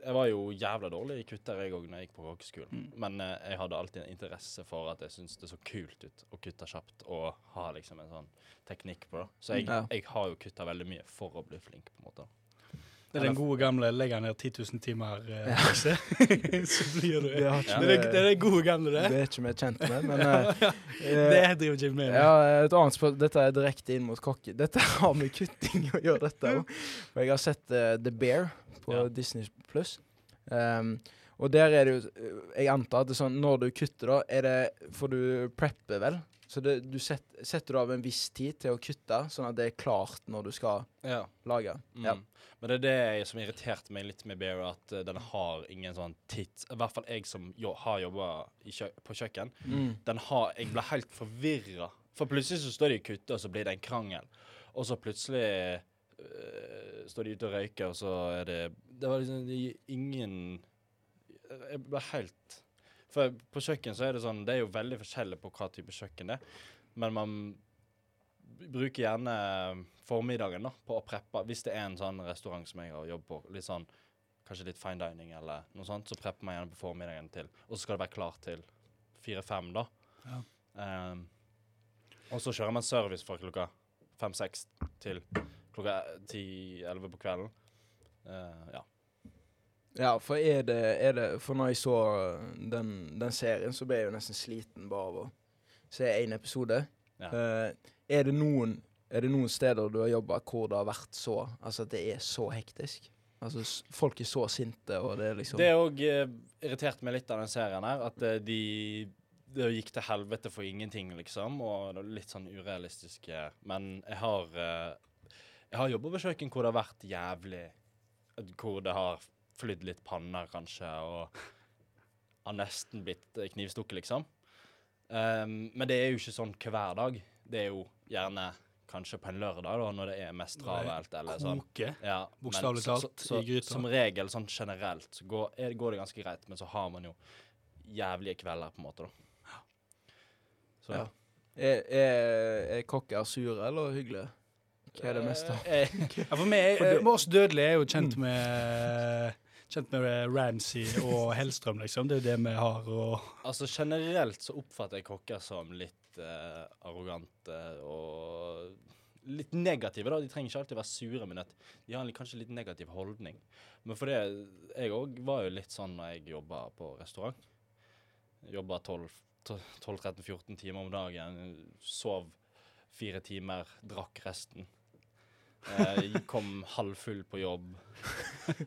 S6: Jeg var jo jævla dårlig i kutter, jeg òg, når jeg gikk på kokkeskolen. Men eh, jeg hadde alltid en interesse for at jeg syntes det så kult ut å kutte kjapt og ha liksom en sånn teknikk på det. Så jeg,
S4: Ja.
S6: jeg har jo kutta veldig mye for å bli flink, på en måte.
S5: Det er den gode gamle 'legger ned 10 000 timer', eh, lekse. så blir du
S4: Det har ikke
S5: det, er, det er det gode gamle,
S4: Det
S5: det.
S4: er ikke vi kjent med, men eh, eh,
S5: Det driver Jim med.
S4: ja, et annet spørsmål. Dette er direkte inn mot kokke. Dette har med kutting å gjøre, dette òg. Og jeg har sett eh, The Bear på
S6: Ja.
S4: Disney pluss. Um, og der er det jo eh, Jeg antar at det er sånn når du kutter, da, er det For du prepper vel? Så det, du set, setter du av en viss tid til å kutte, sånn at det er klart når du skal
S6: Ja.
S4: lage.
S6: Mm.
S4: Ja.
S6: Men det er det jeg, som irriterte meg litt med Bear, at eh, den har ingen sånn tids... I hvert fall jeg som jo, har jobba kjø på kjøkken.
S4: Mm.
S6: Den har Jeg ble helt forvirra. For plutselig så står de og kutter, og så blir det en krangel. Og så plutselig eh, står de ute og røyker, og så er det Det var liksom det gir ingen Jeg ble helt For på kjøkken så er det sånn Det er jo veldig forskjellig på hva type kjøkken det er, men man bruker gjerne formiddagen da, på å preppe. Hvis det er en sånn restaurant som jeg har jobb på, litt sånn, kanskje litt fine dining eller noe sånt, så prepper man gjerne på formiddagen til, og så skal det være klart til fire-fem da.
S5: Ja.
S6: Ehm, og så kjører man service fra klokka fem-seks til klokka ti-elleve på kvelden. Eh, ja.
S4: Ja, for er det, er det For når jeg så den, den serien, så ble jeg jo nesten sliten bare av å se én episode.
S6: Ja.
S4: Eh, er, det noen, er det noen steder du har jobba hvor det har vært så Altså at det er så hektisk? Altså s- folk er så sinte, og det er liksom
S6: Det òg eh, irriterte meg litt av den serien her. At eh, de det gikk til helvete for ingenting, liksom. Og det var litt sånn urealistiske Men jeg har eh, Jeg har jobba på kjøkken hvor det har vært jævlig Hvor det har flydd litt panner, kanskje, og har nesten blitt eh, knivstukket, liksom. Ehm, men det er jo ikke sånn hver dag. Det er jo gjerne kanskje på en lørdag, da, når det er mest travelt, eller sånn.
S5: Koke.
S6: Ja, men
S5: Bokstavelig
S6: så-
S5: talt,
S6: så- så-
S5: i gryta.
S6: Som regel, sånn generelt, så går, er, går det ganske greit, men så har man jo jævlige kvelder, på en måte, da. Så,
S4: Ja. er, er, er kokker sure eller hyggelige? Hva er det meste?
S6: Eh,
S5: Ja, for meg,
S4: det-
S5: eh, oss dødelige er jo kjent med Kjent med Ramsay og Hellstrøm, liksom. Det er jo det vi har å
S6: altså, generelt så oppfatter jeg kokker som litt eh, arrogante og litt negative, da. De trenger ikke alltid være sure, men at de har en litt- kanskje litt negativ holdning. Men for det, jeg òg var jo litt sånn når jeg jobba på restaurant. Jobba 12-13-14 timer om dagen, sov fire timer, drakk resten. Eh, kom halvfull på jobb.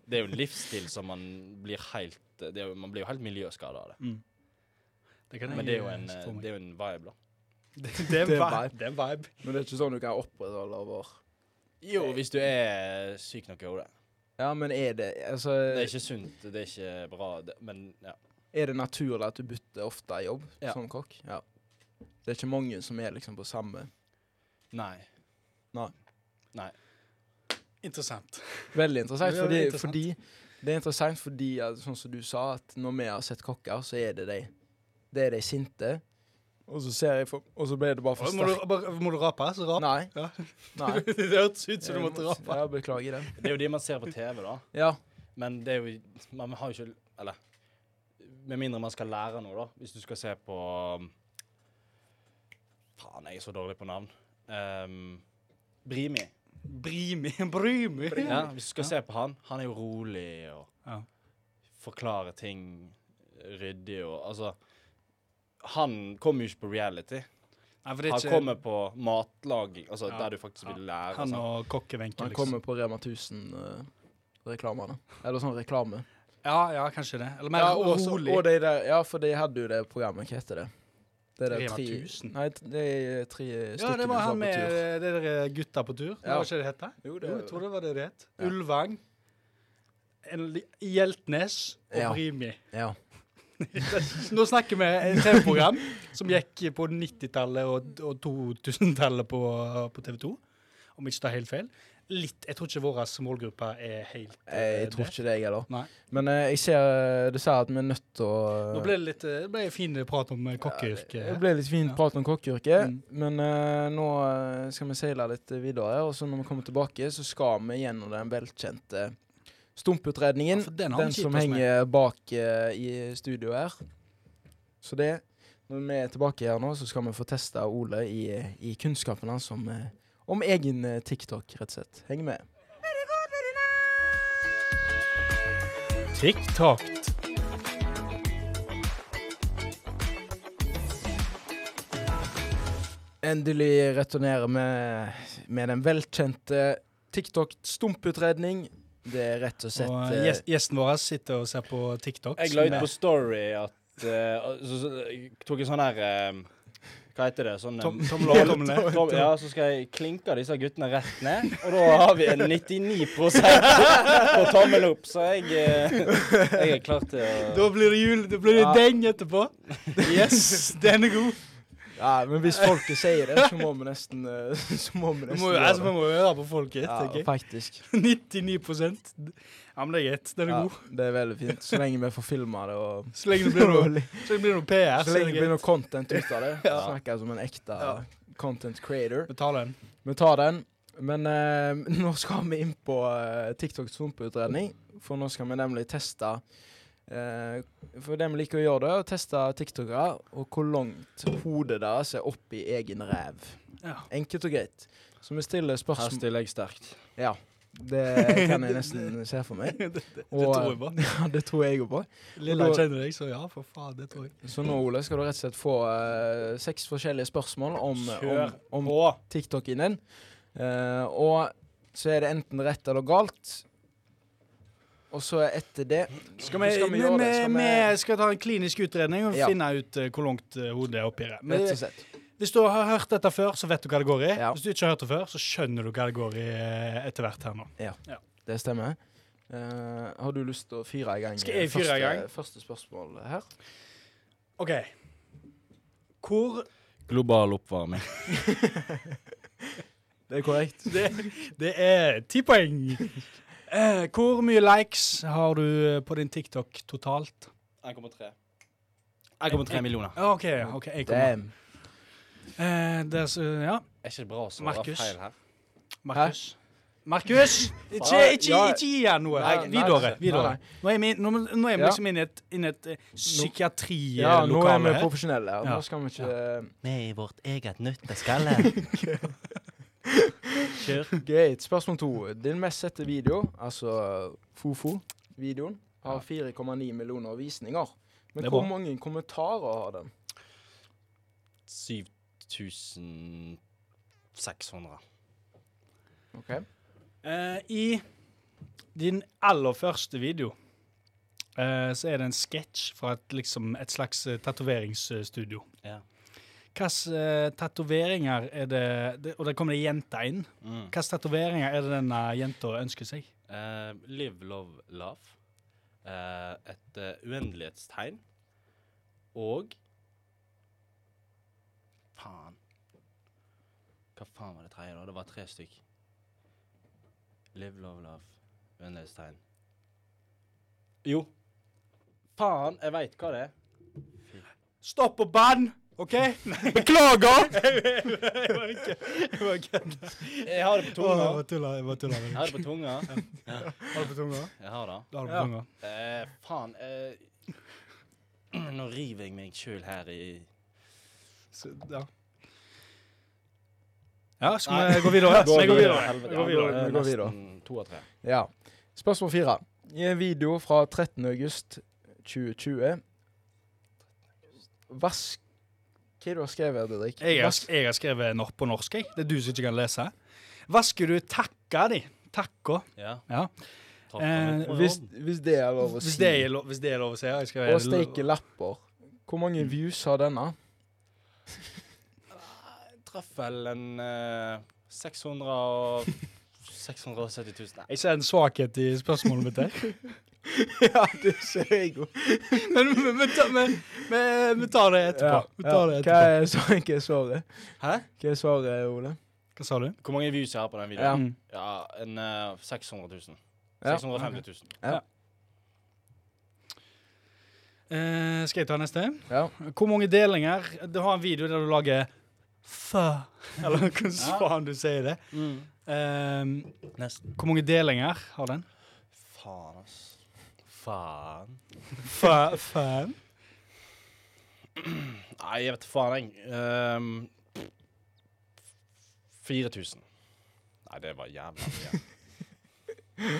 S6: Det er jo en livsstil som man blir helt det er jo, Man blir jo helt miljøskada av det.
S5: Det kan jeg
S6: Men det er jo en,
S5: se
S6: eh,
S5: for meg.
S6: det er jo en vibe, da.
S5: Det er
S4: Det er
S5: vibe. Det er vibe.
S4: Men det er ikke sånn du kan opprettholde over
S6: Jo, hvis du er eh, syk nok i hodet.
S4: Ja, men er det Altså,
S6: Det er
S4: er,
S6: ikke sunt, det er ikke bra, det, men ja.
S4: det naturlig at du bytter ofte jobb
S6: Ja.
S4: som kokk? Ja. Det er ikke mange som er liksom på samme
S6: Nei.
S5: Interessant.
S4: Veldig interessant,
S5: Det er
S4: fordi,
S5: interessant.
S4: fordi det er interessant fordi, at, sånn som du sa, at når vi har sett kokker, så er det de, det er de sinte. Og så ser jeg for, Og så ble det bare for
S5: Må du,
S4: sterkt.
S5: bare- må du rape? Så rap.
S4: Nei.
S5: Ja.
S4: Nei.
S5: det hørtes ut som du
S4: Jeg
S5: måtte
S4: må-
S5: rape.
S4: Ja, beklager det.
S6: Det er jo de man ser på TV, da.
S4: Ja.
S6: Men det er jo Man har jo ikke Eller med mindre man skal lære noe, da. Hvis du skal se på um, Faen, jeg er så dårlig på navn. Ehm, Brimi.
S5: Brimi. Brimi.
S6: Ja, hvis du skal se på han, han er jo rolig og
S5: Ja.
S6: forklarer ting ryddig og Altså Han kommer jo ikke på reality.
S5: Nei, for det er
S6: Han
S5: ikke
S6: kommer på matlaging, altså
S5: Ja.
S6: der du faktisk vil lære. altså.
S5: altså. han
S6: sant?
S5: og kokkevenken,
S4: Han
S5: liksom.
S4: kommer på Rema 1000-reklamene. Eller sånn reklame.
S5: Ja, ja, kanskje det. Eller mer
S4: Ja, og, så-
S5: rolig.
S4: og de der, ja, for de hadde jo det programmet. Hva heter det? det der
S5: Rema
S4: tre-
S5: 1000?
S4: Nei, de tre stykkene
S5: ja, det
S4: som
S5: var
S4: var på
S5: han
S4: tur.
S5: med eh, det der gutta på tur. Det
S4: Ja.
S5: var ikke det det het?
S4: Jo, det-
S5: Jo, jeg tror det var det det het.
S4: Ja.
S5: Ulvang, en li- Hjeltnes og
S4: Ja.
S5: Brimi.
S4: Ja.
S5: Nå snakker vi et TV-program som gikk på 90-tallet og, og 2000-tallet på, på TV 2, om jeg ikke tar helt feil. Litt, Jeg tror ikke vår målgruppe er helt
S4: Jeg,
S5: eh,
S4: jeg tror
S5: det.
S4: ikke det, jeg heller.
S5: Nei.
S4: Men eh, jeg ser eh, dessverre at vi er nødt til å
S5: Nå ble det litt, eh, det ble fin prat om eh,
S4: Det
S5: kokkeyrket.
S4: ble litt fint
S5: Ja.
S4: prat om kokkeyrket,
S5: Mm.
S4: men eh, nå eh, skal vi seile litt videre. Og så når vi kommer tilbake, så skal vi gjennom den velkjente
S5: Ja,
S4: stumputredningen.
S5: for den har vi
S4: den
S5: ikke
S4: som
S5: gitt oss med.
S4: henger bak eh, i studio her. Så det Når vi er tilbake her nå, så skal vi få testa Ole i, i kunnskapen hans om, eh, om egen eh, TikTok, rett og slett. Heng med.
S1: Very good, very nice.
S5: TikTok.
S4: Endelig returnerer vi med den velkjente TikTok-stumputredning. Det er rett og slett
S5: Og
S4: eh,
S5: gjes- gjesten vår sitter og ser på TikTok.
S6: Jeg la ut
S5: som
S6: på
S5: er
S6: Story at eh, så, så, Jeg tok en sånn her eh, Hva heter det? Sånn eh,
S5: Tom- tommel opp, tommel ned.
S6: Tom- Ja, så skal jeg klinke disse guttene rett ned, og da har vi en 99 på tommel opp, så jeg, eh, jeg er klar til å
S5: Da blir det jul. Da blir det
S4: Ja.
S5: deng etterpå. Yes, den er god.
S4: eh, Ja, men hvis folket sier det, så må vi nesten eh, Så må vi
S5: Vi
S4: nesten
S5: må, jo-
S4: gjøre
S5: altså, vi må jo høre på folket,
S4: Ja,
S5: tenker jeg.
S4: faktisk.
S5: 99 Ja, men det er greit. Den er
S4: Ja,
S5: god.
S4: det er veldig fint. Så lenge vi får filma det og
S5: Så lenge det blir noe,
S4: Så
S5: så lenge det blir noe PR,
S4: lenge
S5: så er det
S4: det blir
S5: greit.
S4: noe content ut av det.
S5: Ja.
S4: Snakker jeg som en ekte
S5: Ja.
S4: content creator.
S5: Betal den.
S4: Vi tar den. Men eh, nå skal vi inn på eh, TikToks svampeutredning, for nå skal vi nemlig teste eh, For dem liker å gjøre det, å teste tiktokere og hvor langt hodet deres er oppi egen ræv.
S5: Ja.
S4: Enkelt og greit. Så vi stiller
S6: Her
S4: spørsmål
S6: stiller jeg sterkt.
S4: Ja. Det kan jeg nesten se for meg.
S5: Det, det, eh, det
S4: Og,
S5: tror jeg på.
S4: Ja, det tror jeg òg på.
S5: Lilla
S4: og da-
S5: kjenner deg, så ja, for faen, det tror jeg.
S4: Så nå, Ole, skal du rett og slett få eh, seks forskjellige spørsmål om, om,
S6: Kjør
S4: om
S6: på!
S4: TikToken din. Eh, og så er det enten rett eller galt. Og så etter det
S5: Skal vi,
S4: skal vi
S5: vi,
S4: gjøre
S5: vi,
S4: det? Skal
S5: vi
S4: vi-
S5: skal ta en klinisk utredning og
S4: Ja.
S5: finne ut eh, hvor langt eh, hodet er oppi det. Men
S4: Rett og slett.
S5: Hvis du har hørt dette før, så vet du hva det går i.
S4: Ja.
S5: Hvis du ikke har hørt det før, så skjønner du hva det går i eh, etter hvert her nå.
S4: Det stemmer. Eh, har du lyst til å fyre i gang
S5: Skal jeg
S4: eh,
S5: fyre i
S4: første,
S5: gang?
S4: første spørsmål her?
S5: OK. Hvor
S6: Global oppvarming.
S4: Det er korrekt.
S5: Det, det er ti poeng. Eh, hvor mye likes har du eh, på din TikTok totalt?
S6: 1,3. 1,3 millioner.
S5: Ja, Ah, OK. ok, jeg kommer.
S4: Damn.
S5: Eh, det er, så- ja.
S6: Er ikke det bra å svare
S5: Markus.
S6: feil her?
S5: Markus. Markus! Ikke, ikke,
S4: Ja.
S5: ikke gi han noe.
S4: Nei, nei,
S5: Videre.
S4: nei,
S5: videre.
S4: nei.
S5: Nå er vi, nå, nå er vi
S4: Ja.
S5: liksom inne i et, inne i et
S4: Ja,
S5: eh,
S4: nå er vi
S5: psykiatrilokale her.
S4: profesjonelle. og
S5: Ja.
S4: Nå skal vi ikke
S8: Med i vårt eget nøtteskalle.
S4: Greit. Spørsmål to. Din mest sette video, altså Fofo-videoen, har 4,9 millioner visninger.
S5: Det er
S4: Men hvor
S5: bra.
S4: mange kommentarer har den?
S6: 7600.
S4: Ok.
S5: Eh, I din aller første video eh, så er det en sketsj fra et, liksom, et slags eh, tatoveringsstudio.
S6: Ja.
S5: Hvilke eh, tatoveringer er det, det Og der kommer det ei jente inn.
S6: Mm.
S5: Hvilke tatoveringer er det denne jenta ønsker seg?
S6: Eh, live, love, love. Eh, et eh, uendelighetstegn. Og Faen. Hva faen var det tredje, da? Det var tre stykk. Live, love, love. Uendelighetstegn. Jo. Faen, jeg veit hva det er.
S5: Stopp og bann! OK? Beklager! jeg var ikke Jeg var ikke
S6: Jeg har det på tunga.
S5: Åh, jeg bare tulla. Jeg bare tulla med
S6: Jeg
S5: deg.
S6: har det på tunga.
S5: Har du på tunga?
S6: Jeg har det.
S5: Du har det
S4: Ja.
S5: på tunga.
S6: Eh, faen. Eh, nå river jeg meg sjøl her i
S5: Så, ja. Ja, skal vi gå videre? Skal vi gå videre? Vi går videre.
S4: Vi går videre.
S6: Nesten to av tre.
S4: Ja. Spørsmål fire. I en video fra 13. august 2020 Vask... Hva er det du har skrevet, her, Didrik?
S5: Jeg har,
S4: Vask...
S5: jeg har skrevet nor på norsk, jeg. Det er du som ikke kan lese. Vasker du takka di? Takka.
S6: Ja.
S5: Ja.
S6: Ta
S5: Eh,
S6: fram
S4: Hvis,
S6: mikrofonen.
S4: hvis det er lov å si.
S5: Hvis det er lov, hvis det er lov å si. Mm. ja, Jeg skal
S4: Og steike lapper. Hvor mange views har denne?
S6: Jeg traff vel en eh, 600 og 670 000. Nei.
S5: Jeg ser en svakhet i spørsmålet mitt her.
S4: ja, det ser jeg jo.
S5: Men men- men ta- men- men vi tar det etterpå. Vi tar
S4: Hva
S5: det etterpå.
S4: er, så, hva er svaret?
S6: Hæ?
S4: Hva er svaret, Ole?
S5: Hva sa du?
S6: Hvor mange views jeg har på den
S4: Ja.
S6: videoen? Ja, en eh, 600 000.
S4: Ja.
S6: 650 000.
S5: Eh, skal jeg ta neste?
S4: Ja.
S5: Hvor mange delinger Du har en video der du lager Fø. Eller hvordan faen du sier det. Eh,
S6: Nesten.
S5: hvor mange delinger har den?
S6: Faen, ass. Faen.
S5: Fø. Fø.
S6: Nei, jeg vet faen, jeg. Ehm, 4000. Nei, det var jævla mye.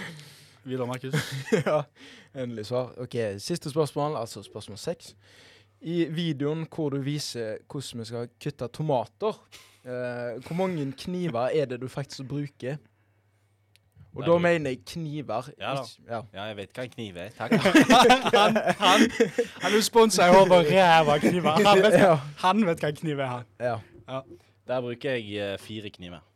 S5: Vidar Markus.
S4: ja, endelig svar. OK, siste spørsmål, altså spørsmål seks. I videoen hvor du viser hvordan vi skal kutte tomater, eh, hvor mange kniver er det du faktisk bruker? Og
S6: Nei,
S4: da
S6: du-
S4: mener jeg kniver.
S6: Ja da.
S4: ikke- ja.
S6: Ja, jeg vet hva en kniv er. Takk.
S5: Han, han, han er sponsa i hodet og ræva kniver. Han vet,
S4: Ja,
S5: han vet hva en kniv er, han.
S4: ja.
S6: Der bruker jeg eh, fire kniver.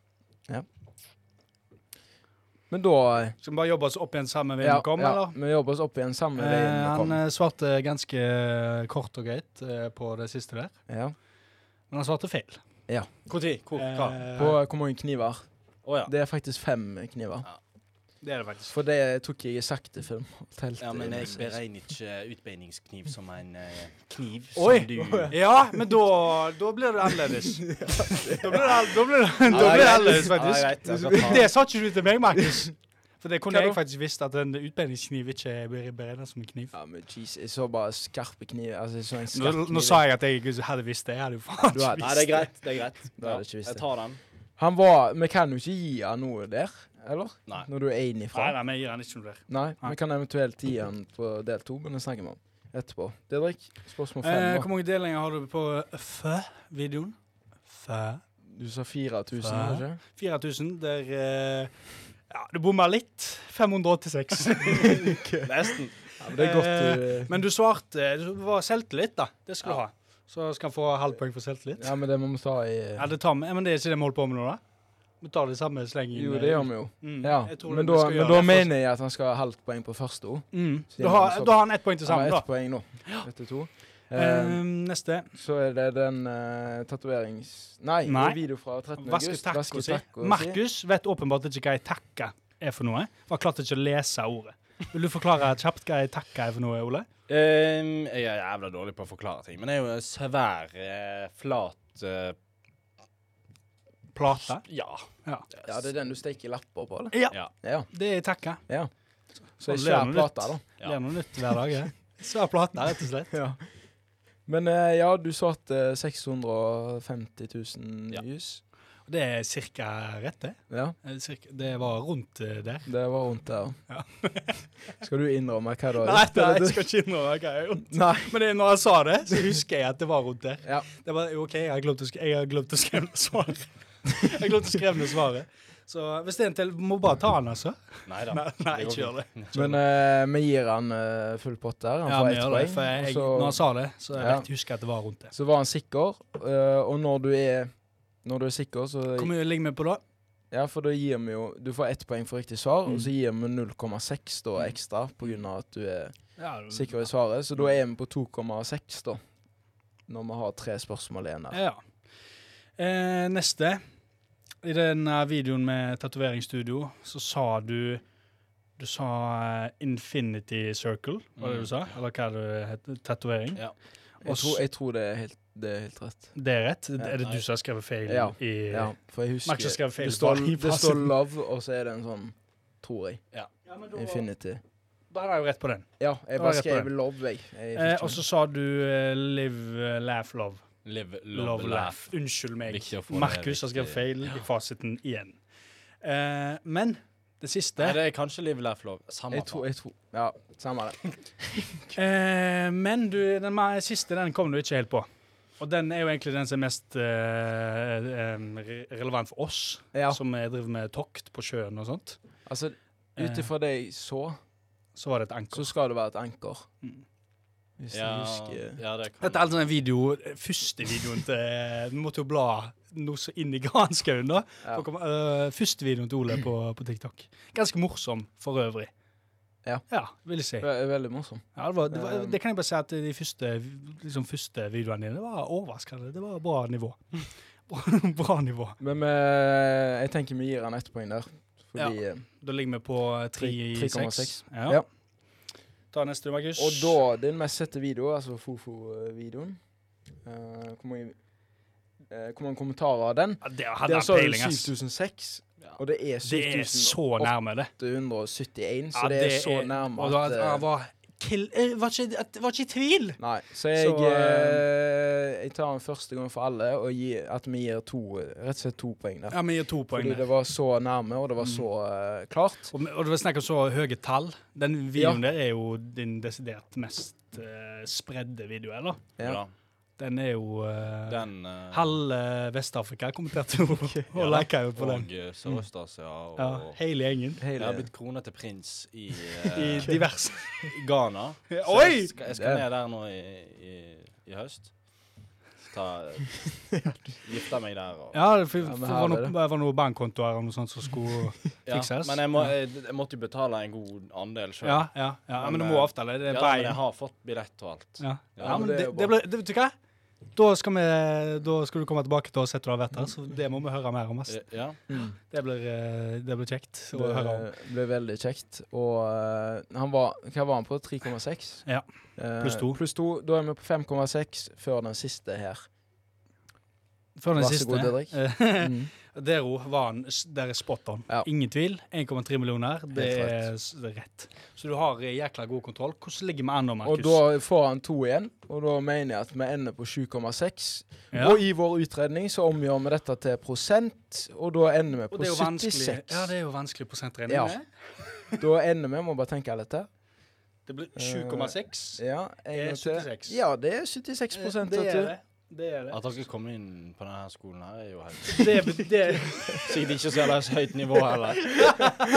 S4: Men da eh,
S5: Skal vi bare jobbe oss opp igjen sammen ved
S4: ja,
S5: vi kom,
S4: ja,
S5: eller?
S4: Vi jobber oss opp igjen sammen.
S5: Eh,
S4: veien vi
S5: han
S4: kom.
S5: eh, svarte ganske kort og greit eh, på det siste der,
S4: Ja.
S5: men han svarte feil.
S6: Hvor tid? Hvor? Hva? Å
S5: Eh,
S4: På hvor mange kniver?
S6: ja.
S4: Det er faktisk fem kniver.
S5: det er det faktisk.
S4: For det tok jeg i sakte film. Telt,
S6: Ja, men
S4: eh,
S6: jeg beregner ikke utbeiningskniv som en eh, kniv
S5: Oi.
S6: som du
S5: Ja, men da, da blir det annerledes. Da blir det, all- da blir det, da
S6: Ja,
S5: blir
S6: det
S5: det
S6: er
S5: annerledes,
S6: greit. Ja,
S5: faktisk.
S6: det er greit. Jeg skal ta
S5: Det sa ikke du til meg, Markus. For det kunne
S4: Hva da?
S5: jeg faktisk visst, at en utbendingskniv ikke blir beregnet som en kniv.
S4: Ja, men jeez, jeg så bare skarpe kniver. Altså, jeg så en
S5: Nå,
S4: skarp
S5: nå
S4: kniv.
S5: sa jeg at jeg ikke hadde visst det. Jeg hadde jo faen
S4: Du
S5: ikke
S4: hadde-
S6: Nei,
S5: visst
S6: det er greit. Det er greit.
S4: Da hadde jeg ikke visst
S6: jeg
S4: det.
S6: tar den.
S4: Han var Vi kan jo ikke gi han noe der, eller?
S6: Nei.
S4: Når du er enig
S5: Nei,
S4: ifra.
S5: nei, men jeg gir han ikke noe der.
S4: Nei,
S5: Nei.
S4: vi kan eventuelt gi han på del to, men det snakker vi om etterpå. Didrik, spørsmål
S5: Eh,
S4: fem.
S5: hvor
S4: da.
S5: mange delinger har du på Fø-videoen? Fø.
S4: du sa 4000,
S5: Hva?
S4: ikke
S5: 4000, der eh, Ja, du bomma litt. 586.
S6: Nesten.
S4: ja, men Det er godt eh, du
S5: Eh, Men du svarte Du var selvtillit, da. Det skal du ha. Så skal han få halvt poeng for selvtillit.
S4: Ja, men det må vi ta i
S5: Ja, det tar vi. Ja, Men det er ikke det vi holder på med nå, da? Vi tar det samme slengen.
S4: Jo, det gjør vi jo.
S5: Mm,
S4: Ja,
S5: jeg tror
S4: men
S5: vi
S4: da,
S5: skal
S4: men
S5: gjøre
S4: da
S5: det først.
S4: mener jeg at han skal ha halvt poeng på første ord.
S5: mm. da, har, da har han ett poeng til
S4: Han
S5: sammen,
S4: har
S5: da.
S4: ett poeng nå. Etter to.
S5: Eh,
S4: Eh,
S5: neste.
S4: så er det den uh, tatoverings... Nei, det
S5: Nei.
S4: er video fra 13.
S5: Vaske
S4: august.
S5: taco si.
S4: taco si.
S5: Markus vet åpenbart ikke hva ei takka er for noe. For han klarte ikke å lese ordet. Vil du forklare kjapt hva ei takka er for noe, Ole?
S6: Ehm, jeg er jævla dårlig på å forklare ting, men det er jo en svær, eh, flat eh,
S5: Plate.
S6: Ja.
S5: Ja.
S4: Ja, det er den du steker lapper på, eller?
S5: Ja.
S6: Ja.
S4: Ja.
S5: Det er ei takka.
S4: Så ei svær
S5: Og lerner litt.
S4: plate, da.
S6: Ja.
S5: Det er noe nytt hver dag. det. Svær plate, rett og slett.
S4: Ja. Men eh, ja, du sa at eh, 650 000
S6: Ja.
S4: views.
S5: Det er cirka rett, det.
S4: Ja,
S5: Eh, cirka- Det var rundt eh, der.
S4: det var rundt der.
S5: Ja.
S4: skal du innrømme hva du har
S5: Nei,
S4: gjort?
S5: nei,
S4: eller
S5: jeg
S4: du-
S5: skal ikke innrømme hva jeg har gjort.
S4: Nei.
S5: Men det, når jeg sa det, så husker jeg at det var rundt der.
S4: Ja.
S5: Det var, OK, jeg har glemt å, sk jeg har glemt å skrive ned svaret. Jeg har glemt å skrive ned svaret. Så hvis det er en til, må bare ta den, altså.
S6: Nei da.
S5: Nei, nei
S6: går
S5: ikke gjør det.
S4: Men eh, vi gir han eh, full pott der. Han
S5: Ja,
S4: får
S5: vi
S4: ett
S5: gjør det.
S4: poeng.
S5: For jeg,
S4: og så-
S5: når han sa det, så jeg
S4: Ja.
S5: vet, husker jeg at det var rundt det.
S4: Så var han sikker, eh, og når du er når du er sikker, så
S5: Hvor mye ligger vi på da?
S4: Ja, for da gir vi jo Du får ett poeng for riktig svar, og
S5: Mm.
S4: så gir vi 0,6 da ekstra pga. at du er
S5: Ja,
S4: sikker i svaret. Så
S5: Mm.
S4: da er vi på 2,6, da. Når vi har tre spørsmål igjen her.
S5: Ja. Eh, neste. I denne videoen med tatoveringsstudio så sa du Du sa eh, Infinity Circle, var det du sa? Eller hva det heter? Tatovering?
S6: Ja.
S4: Jeg tror, jeg tror det, er helt, det er helt rett.
S5: Det er rett.
S4: Ja.
S5: Er det du som har skrevet feil
S4: Ja.
S5: i
S4: Ja, for jeg husker
S5: Max har skrevet feil
S4: det, står,
S5: bare i
S4: det står
S5: fasiten.
S4: 'love', og så er det en sånn Tror jeg.
S5: Ja, men
S4: Infinity.
S5: Da har jeg jo rett på den.
S4: Ja, jeg
S5: Da
S4: bare
S5: er jeg på
S4: skrev
S5: den.
S4: 'love', jeg. jeg
S5: Eh,
S4: fikk
S5: og så sa du eh, Live, eh, laugh, love.
S6: Live,
S5: Love,
S6: love,
S5: laugh.
S6: laugh.
S5: Unnskyld meg.
S6: Viktig å få det
S5: Markus har
S6: riktig.
S5: skrevet feil i fasiten igjen. Eh, men det siste
S6: Nei, det er kanskje Live, laugh, love. Samme
S4: jeg tror, jeg tror, ja, samme det.
S5: Eh, men du, den ma- siste den kom du ikke helt på. Og den er jo egentlig den som er mest eh, em, re- relevant for oss,
S4: Ja,
S5: som eh, driver med tokt på sjøen og sånt.
S4: altså,
S5: Eh.
S4: ut ifra det jeg så,
S5: Så var det et anker.
S4: så skal det være et anker.
S5: Mm.
S4: Hvis
S6: ja,
S4: jeg husker
S6: ja, det kan
S5: Dette er altså en video, første videoen til Eh, Du måtte jo bla noe så inn i granskauen, da.
S4: Ja.
S5: For å komme- eh, første videoen til Ole på, på TikTok. Ganske morsom for øvrig.
S4: Ja.
S5: ja vil jeg si.
S4: Ve veldig morsom.
S5: Ja, det, var, det, var,
S4: Um,
S5: det kan jeg bare si at de første, liksom første videoene dine det var overraskende. Det var bra nivå. Bra, bra nivå.
S4: Men vi- jeg tenker vi gir han ett poeng der. Fordi, eh,
S5: Da ligger vi på 3 i 6.
S4: 3,6.
S5: Ja.
S4: Ja.
S5: Ta neste, Markus.
S4: Og da din mest sette video, altså Fofo-videoen eh, hvor, mange- eh, hvor mange kommentarer har den?
S5: ja, Det hadde
S4: Der
S5: han
S4: så er det
S5: peiling, ass.
S4: 7006, og det er
S5: Det er så nærme, det.
S4: 7871, så
S5: Ja,
S4: det er så nærme
S5: og da-
S4: at eh,
S5: han var, kill, eh, var, ikke, at- var ikke i tvil!
S4: Nei, så jeg
S5: Så,
S4: eh, Jeg jeg tar den første gang for alle, og gi, at vi gir to, rett og slett to poeng der.
S5: Ja, vi gir to poeng
S4: Fordi
S5: der.
S4: det var så nærme, og det var så eh, klart.
S5: Og, og det var snakk om så høye tall. Den videoen der er jo din desidert mest eh, spredde video, eller?
S4: Ja.
S6: Ja.
S5: Den er jo eh,
S6: Den eh,
S5: Halve Vest-Afrika kommenterte jo og
S6: ja.
S5: leka jo på den.
S6: Og eh, Sørøst-Asia og
S5: Ja, hele gjengen.
S6: Jeg
S4: Hele,
S6: har blitt krona til prins i, eh,
S5: I diverse
S6: Ghana. Så
S5: Oi!
S6: Jeg skal, jeg skal ned der nå i, i, i høst. Ta, gifte meg der og
S5: Ja, det for,
S4: Ja, men
S5: for det
S4: her
S5: var
S4: er
S5: noe,
S4: det.
S5: det var noe bankkontoer eller noe sånt som skulle
S6: Ja,
S5: fikses.
S6: Men jeg, må, jeg, jeg måtte jo betale en god andel sjøl.
S5: Ja, ja, ja. Men,
S6: Men,
S5: du må
S6: eh,
S5: avtale. Det er
S6: Ja,
S5: bein.
S6: men jeg har fått billett og alt.
S5: Ja.
S6: Ja,
S5: ja, men
S4: men det
S5: det,
S4: er jo
S5: det ble, det, vet du hva? Da skal, vi, da skal du komme tilbake til oss etter du har vært her, så det må vi høre mer om. ass.
S6: Ja, Ja.
S4: mm.
S5: Det blir, eh, det blir kjekt å
S4: det
S5: høre om.
S4: ble veldig kjekt. Og eh, han var Hva var han på? 3,6?
S5: Ja.
S4: Eh,
S5: Pluss to.
S4: Pluss to. Da er vi på 5,6 før den siste her.
S5: Før den
S4: Vær så
S5: siste.
S4: god, Didrik.
S5: eh,
S4: Mm.
S5: Der òg var han s- der er spot on.
S4: Ja.
S5: Ingen tvil. 1,3 millioner, det
S4: Helt
S5: er s- det er rett. Så du har eh, jækla god kontroll. Hvordan ligger vi an nå,
S4: Og
S5: Markus?
S4: da får han to igjen, og da mener jeg at vi ender på 7,6.
S5: Ja.
S4: Og i vår utredning så omgjør vi dette til prosent, og da ender vi
S5: Og
S4: på
S5: det er jo
S4: 76.
S5: vanskelig, ja, det er jo vanskelig prosentregning.
S4: Ja.
S5: det.
S4: Da ender vi, må bare tenke litt her.
S5: Det blir 7,6.
S4: Ja, en
S5: Det er
S4: gang til.
S5: 76.
S4: Ja, det er 76 prosent,
S5: Eh, det
S4: vet
S5: er
S4: du.
S5: det. Det er det.
S6: At dere kom inn på denne skolen her, er jo helt
S5: det, bet- det
S6: Sikkert ikke så jævla høyt nivå heller.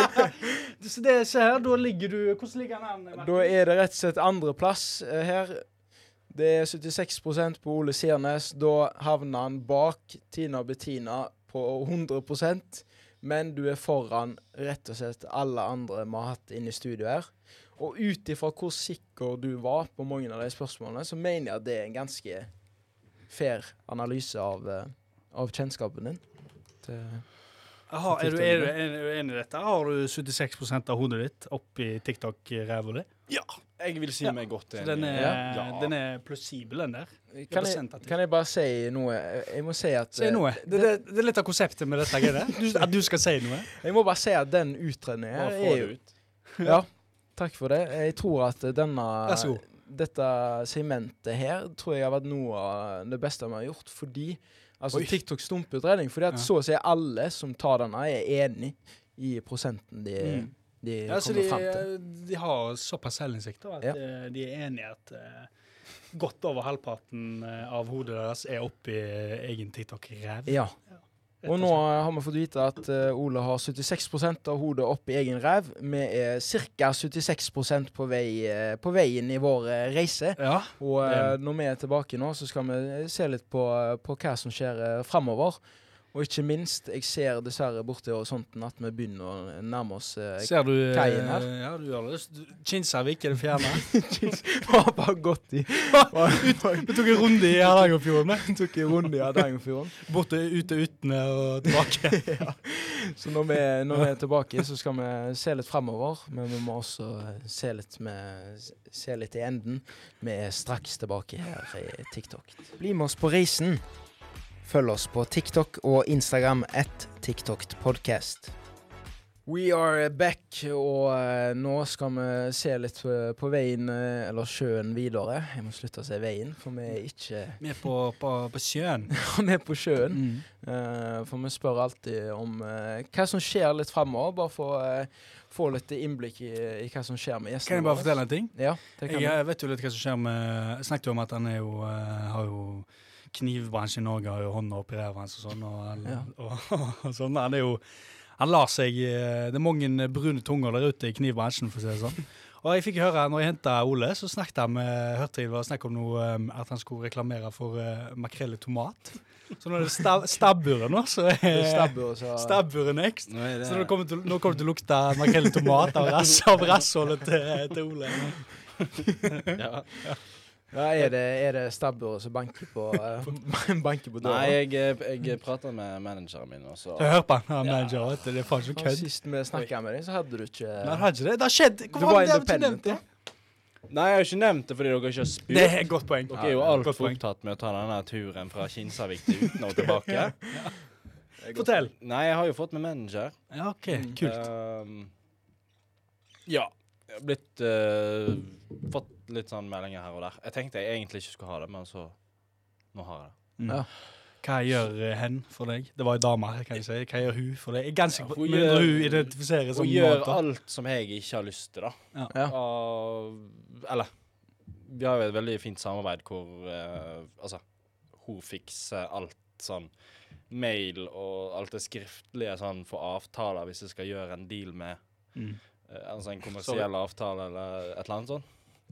S5: Så det se her, da ligger du Hvordan ligger han an?
S4: Da er det rett og slett andreplass eh, her. Det er 76 på Ole Sirnes. Da havner han bak Tina Bettina på 100 men du er foran rett og slett alle andre vi har hatt inne i studio her. Og ut ifra hvor sikker du var på mange av de spørsmålene, så mener jeg at det er en ganske fair analyse av, eh, av kjennskapen din. Det-
S5: Aha, er, du, er, du, er du enig i dette? Har du 76 av hodet ditt oppi TikTok-ræva eh, di?
S6: Jeg vil si
S5: Ja.
S6: meg
S5: Så
S6: godt enig.
S5: Den, er-
S6: ja.
S5: den er plausibel, den der.
S4: Kan jeg,
S5: Representativt.
S4: kan jeg bare si noe? Jeg må si at
S5: Si
S4: eh,
S5: noe. Det, det, det er litt av konseptet med dette. greiene. Du, at du skal si noe.
S4: eh, Jeg må bare si at den utredningen
S6: Bare
S4: her
S6: få
S4: er
S6: det
S4: jo
S6: ut.
S4: Ja, takk for det. Jeg tror at denne
S5: Vær så god.
S4: Dette segmentet her tror jeg har vært noe av det beste vi har gjort, fordi Altså
S5: Oi.
S4: TikTok stumputredning. Fordi at
S5: Ja.
S4: så å si alle som tar denne, er enig i prosenten de,
S5: Mm.
S4: de
S5: Ja, så
S4: kommer
S5: de, eh,
S4: frem til.
S5: de har såpass selvinnsikt da, at
S4: Ja.
S5: eh, de er enige i at eh, godt over halvparten eh, av hodet deres er oppi egen TikTok-ræv.
S4: Ja. Og nå har vi fått vite at eh, Ole har 76 av hodet opp i egen ræv. Vi er ca. 76 på, vei, eh, på veien i vår eh, reise.
S5: Ja.
S4: Og
S5: Det er
S4: eh, når vi er tilbake nå, så skal vi eh, se litt på, eh, på hva som skjer eh, framover. Og ikke minst, jeg ser dessverre borti horisonten at vi begynner å nærme oss eh,
S5: Ser du eh,
S4: Kaien her.
S5: Ja, du gjør det. Du- Kinsarvik er det fjerne.
S4: Var bare godt i
S5: Vi tok en runde i Hardangerfjorden. vi.
S4: Tok en runde i Hardangerfjorden.
S5: Borte ute utene og tilbake.
S4: Så når vi, når vi er tilbake, så skal vi se litt framover. Men vi må også eh, se litt, med, se litt i enden. Vi er straks tilbake her i TikTok. Bli med oss på reisen. Følg oss på TikTok og Instagram at TikTokpodcast. We are back, og eh, nå skal vi se litt eh, på veien, eh, eller sjøen, videre. Jeg må slutte å si veien, for vi er ikke
S5: Vi er på, på, på sjøen.
S4: med på sjøen.
S5: Mm.
S4: Eh, for vi spør alltid om eh, hva som skjer litt fremover, bare for å eh, få litt innblikk i, i hva som skjer med gjestene
S5: Kan jeg bare fortelle en ting?
S4: Ja, det kan
S5: Jeg, eh, vet jo litt hva som skjer med Jeg snakket jo om at han er jo, eh, har jo Knivbransjen i Norge har jo hånda oppi ræva hans og sånn. Og, han-
S4: Ja.
S5: og, og sånn. Han er jo Han lar seg eh, Det er mange brune tunger der ute i knivbransjen, for å si det sånn. Og jeg fikk høre, når jeg henta Ole, så snakket han med, hørte jeg det var snakk om noe, eh, at han skulle reklamere for eh, makrell i tomat. Så nå er det stab stabburet nå. Så
S4: vi.
S5: er
S4: Stabburet, så-
S5: stabburet next.
S6: Nå er
S5: Så nå kommer det til, nå kommer det til å lukte makrell i tomat av rass- av rassholdet til, til Ole.
S6: ja.
S4: ja, er det, er det stabburet som banker på, eh, banker på
S6: Nei,
S4: døra?
S6: jeg, eh, jeg prater med manageren min, og så
S5: Så hør på han her, manager, vet du, det er faen ikke
S4: Og
S5: kødd.
S4: Sist vi snakka med deg, så hadde du ikke
S5: Nei, det har ikke det. Det har skjedd!
S4: Du
S5: Hvorfor
S4: var
S5: har du ikke
S4: independent,
S5: nevnt det?
S6: Nei, jeg har ikke nevnt det fordi dere ikke har spurt.
S5: Det er et godt poeng.
S6: Dere er jo
S5: Ja, godt
S6: altfor
S5: poeng.
S6: opptatt med å ta denne turen fra Kinsarvik til uten og tilbake.
S5: Fortell.
S6: Nei, jeg har jo fått med manager.
S5: Ja, OK. Kult.
S6: Ehm, ja. Jeg har blitt eh, Fått litt sånn meldinger her og der. Jeg tenkte jeg egentlig ikke skulle ha det, men så Nå har jeg det.
S4: Ja.
S5: Mm. Hva gjør eh, hen for deg? Det var jo dama her, kan jeg si. Hva gjør hun for deg? Jeg er ganske
S6: Ja,
S5: ja,
S6: hun
S5: hun,
S6: gjør-
S5: hun identifiserer som
S6: Hun gjør
S5: måte.
S6: alt som jeg ikke har lyst til, da.
S5: Ja.
S4: Ja.
S6: Og- eller Vi har jo et veldig fint samarbeid hvor eh, Altså, hun fikser alt sånn mail og alt det skriftlige sånn for avtaler hvis jeg skal gjøre en deal med
S5: Mm.
S6: eh, altså en kommersiell avtale eller et eller annet sånt.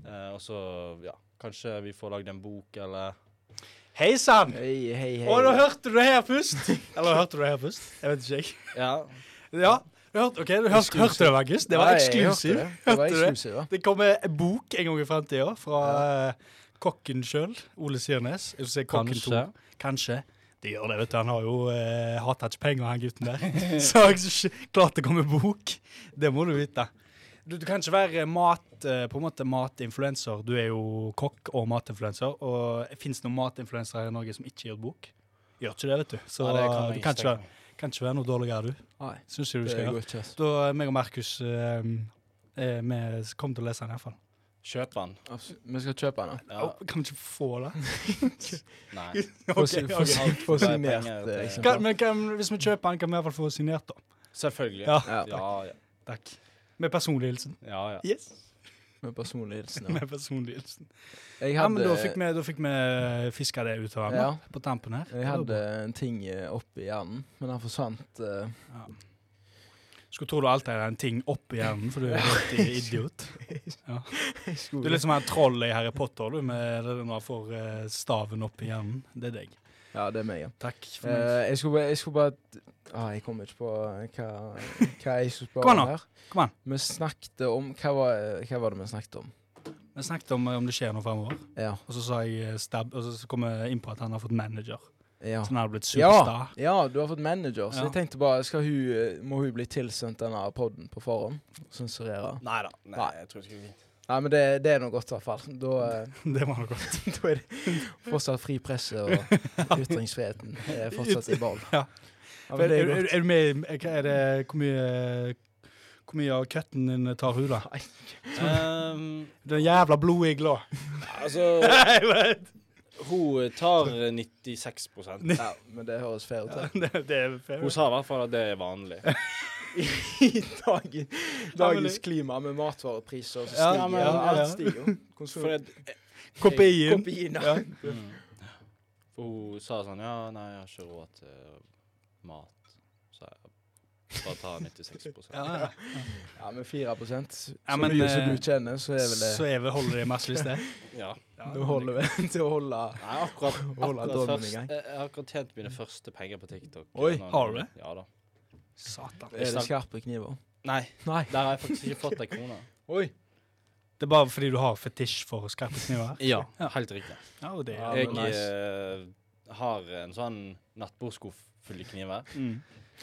S6: Eh, og så, ja Kanskje vi får lagd en bok, eller
S5: Hei sann!
S4: Hei, hei, hei.
S5: Og nå hørte du det her først. Eller hørte du det her først? Jeg vet ikke, jeg.
S6: Ja.
S5: Ja, du hørte, ok, du hørte, hørte det, Markus. Det var
S4: Nei,
S5: eksklusiv.
S4: Jeg hørte det. det var
S5: Hørte du det?
S4: eksklusiv, ja.
S5: Det kommer en bok en gang i fremtiden fra eh, kokken sjøl, Ole Sirnes. Jeg vil si kokken
S6: Kanskje.
S5: to. Kanskje. Det gjør det, vet du. Han har jo eh, hatt ikke penger, han gutten der. Så jeg s- klarte å komme med bok. Det må du vite. Du, du kan ikke være mat, eh, på en måte matinfluenser. Du er jo kokk og matinfluenser. Og fins det noen matinfluensere her i Norge som ikke gir ut bok? Gjør ikke det, vet du. Så
S6: Nei, det kan jeg
S5: du
S6: ikke
S5: kan ikke,
S6: tenke meg.
S5: være, kan ikke være noe dårligere, du.
S4: Nei,
S5: Syns jeg du
S4: det
S5: skal
S4: går
S5: gjøre.
S4: ikke. ass.
S5: Da meg og Markus eh, eh, vi kommer til å lese den iallfall.
S6: Kjøp den.
S4: Absolutt. Vi skal kjøpe den. da.
S6: Ja.
S5: Au, Kan vi ikke få det?
S6: Nei.
S4: Få si- få si-
S6: ok.
S4: få signert
S6: Penger
S4: eh,
S6: til-
S5: Kan,
S4: eksemplar.
S5: men kan, hvis vi kjøper den, kan vi i hvert fall få signert, da.
S6: Selvfølgelig.
S5: Ja.
S4: Ja,
S6: Ja, ja.
S5: Takk. Med personlig hilsen.
S6: ja, ja.
S5: Yes.
S4: med personlig hilsen. ja.
S5: Med personlig hilsen.
S4: Jeg
S5: Ja, men da fikk
S4: hadde,
S5: vi, da fikk vi fiska det ut av den
S4: Ja.
S5: da, på tampen her.
S4: jeg hadde en ting eh, oppi hjernen, men den forsvant. eh.
S5: Skulle tro du alltid hadde en ting oppi hjernen, for du er helt i- idiot. Ja. Du er litt som en troll i Harry Potter, du, med det når han får eh, staven oppi hjernen. Det er deg.
S4: Ja, det er meg, ja.
S5: Takk for meg.
S4: Eh, jeg skulle bare, jeg skulle bare ah, Jeg kom ikke på hva, hva jeg skulle
S5: Kom
S4: spørre
S5: an
S4: om
S5: nå.
S4: her.
S5: Kom an.
S4: Vi snakket om Hva var, eh, hva var det vi snakket om?
S5: Vi snakket om eh, om det skjer noe fremover,
S4: Ja.
S5: og så sa jeg eh, stab, og så kom jeg inn på at han har fått manager.
S4: Ja,
S5: Så han har blitt
S4: ja,
S5: superstar.
S4: ja du har fått manager, så
S5: Ja.
S4: jeg tenkte bare skal hun, eh, Må hun bli tilsendt denne poden på forhånd? Sensurere?
S6: Nei da. Nei,
S4: Nei.
S6: jeg tror det skal bli fint.
S4: Nei, men det, det er nå godt, i hvert fall. Da, eh,
S5: Det var noe godt.
S4: da er det fortsatt fri presse, og ytringsfriheten er fortsatt i behold.
S5: Ja. eh,
S4: men
S5: er,
S4: det er
S5: er,
S4: godt.
S5: er du med i- hva er det, Hvor mye Hvor mye av køtten din tar hun, da?
S6: Ehm,
S5: Den jævla blodigla.
S6: altså,
S5: Jeg vet.
S6: hun tar 96 Hun
S4: Ja, men det høres fair ut. da.
S5: det, det er fair.
S6: sa i hvert fall at det er vanlig.
S4: I dagen, dagens
S5: det-
S4: klima med matvarepriser som
S5: Ja,
S4: stiger.
S5: men- ja, ja.
S4: Alt stiger. Konsum-
S6: For, det-
S5: Kopien.
S4: Kokain, ja.
S5: Ja.
S6: mm. For hun sa sånn Ja, nei, jeg har ikke råd til eh, mat. Så jeg bare tar 96
S5: Ja, ja.
S4: ja, men 4 Så
S5: Ja, men,
S4: mye som
S5: eh,
S4: du kjenner, så er vel
S5: Så
S4: det
S5: er vi holder det i massevis, det.
S6: Ja.
S4: Du holder vel til å holde
S6: Nei, akkurat,
S4: Holde
S6: akkurat
S4: drømmen i
S6: først,
S4: gang.
S6: jeg jeg har akkurat tjent mine første penger på TikTok.
S4: Oi,
S6: Nå-
S5: har du det?
S6: Ja da.
S5: Satan.
S4: Er det
S6: snakker-
S4: skarpe kniver?
S6: Nei,
S4: Nei.
S6: der har jeg faktisk ikke fått ei krone.
S4: Oi.
S5: Det er bare fordi du har fetisj for skarpe kniver?
S6: Ja, helt riktig.
S5: Ja, og det
S4: Ja,
S5: er
S6: Jeg
S4: men nice.
S6: eh, har en sånn nattbordskuff full av kniver.
S5: Mm.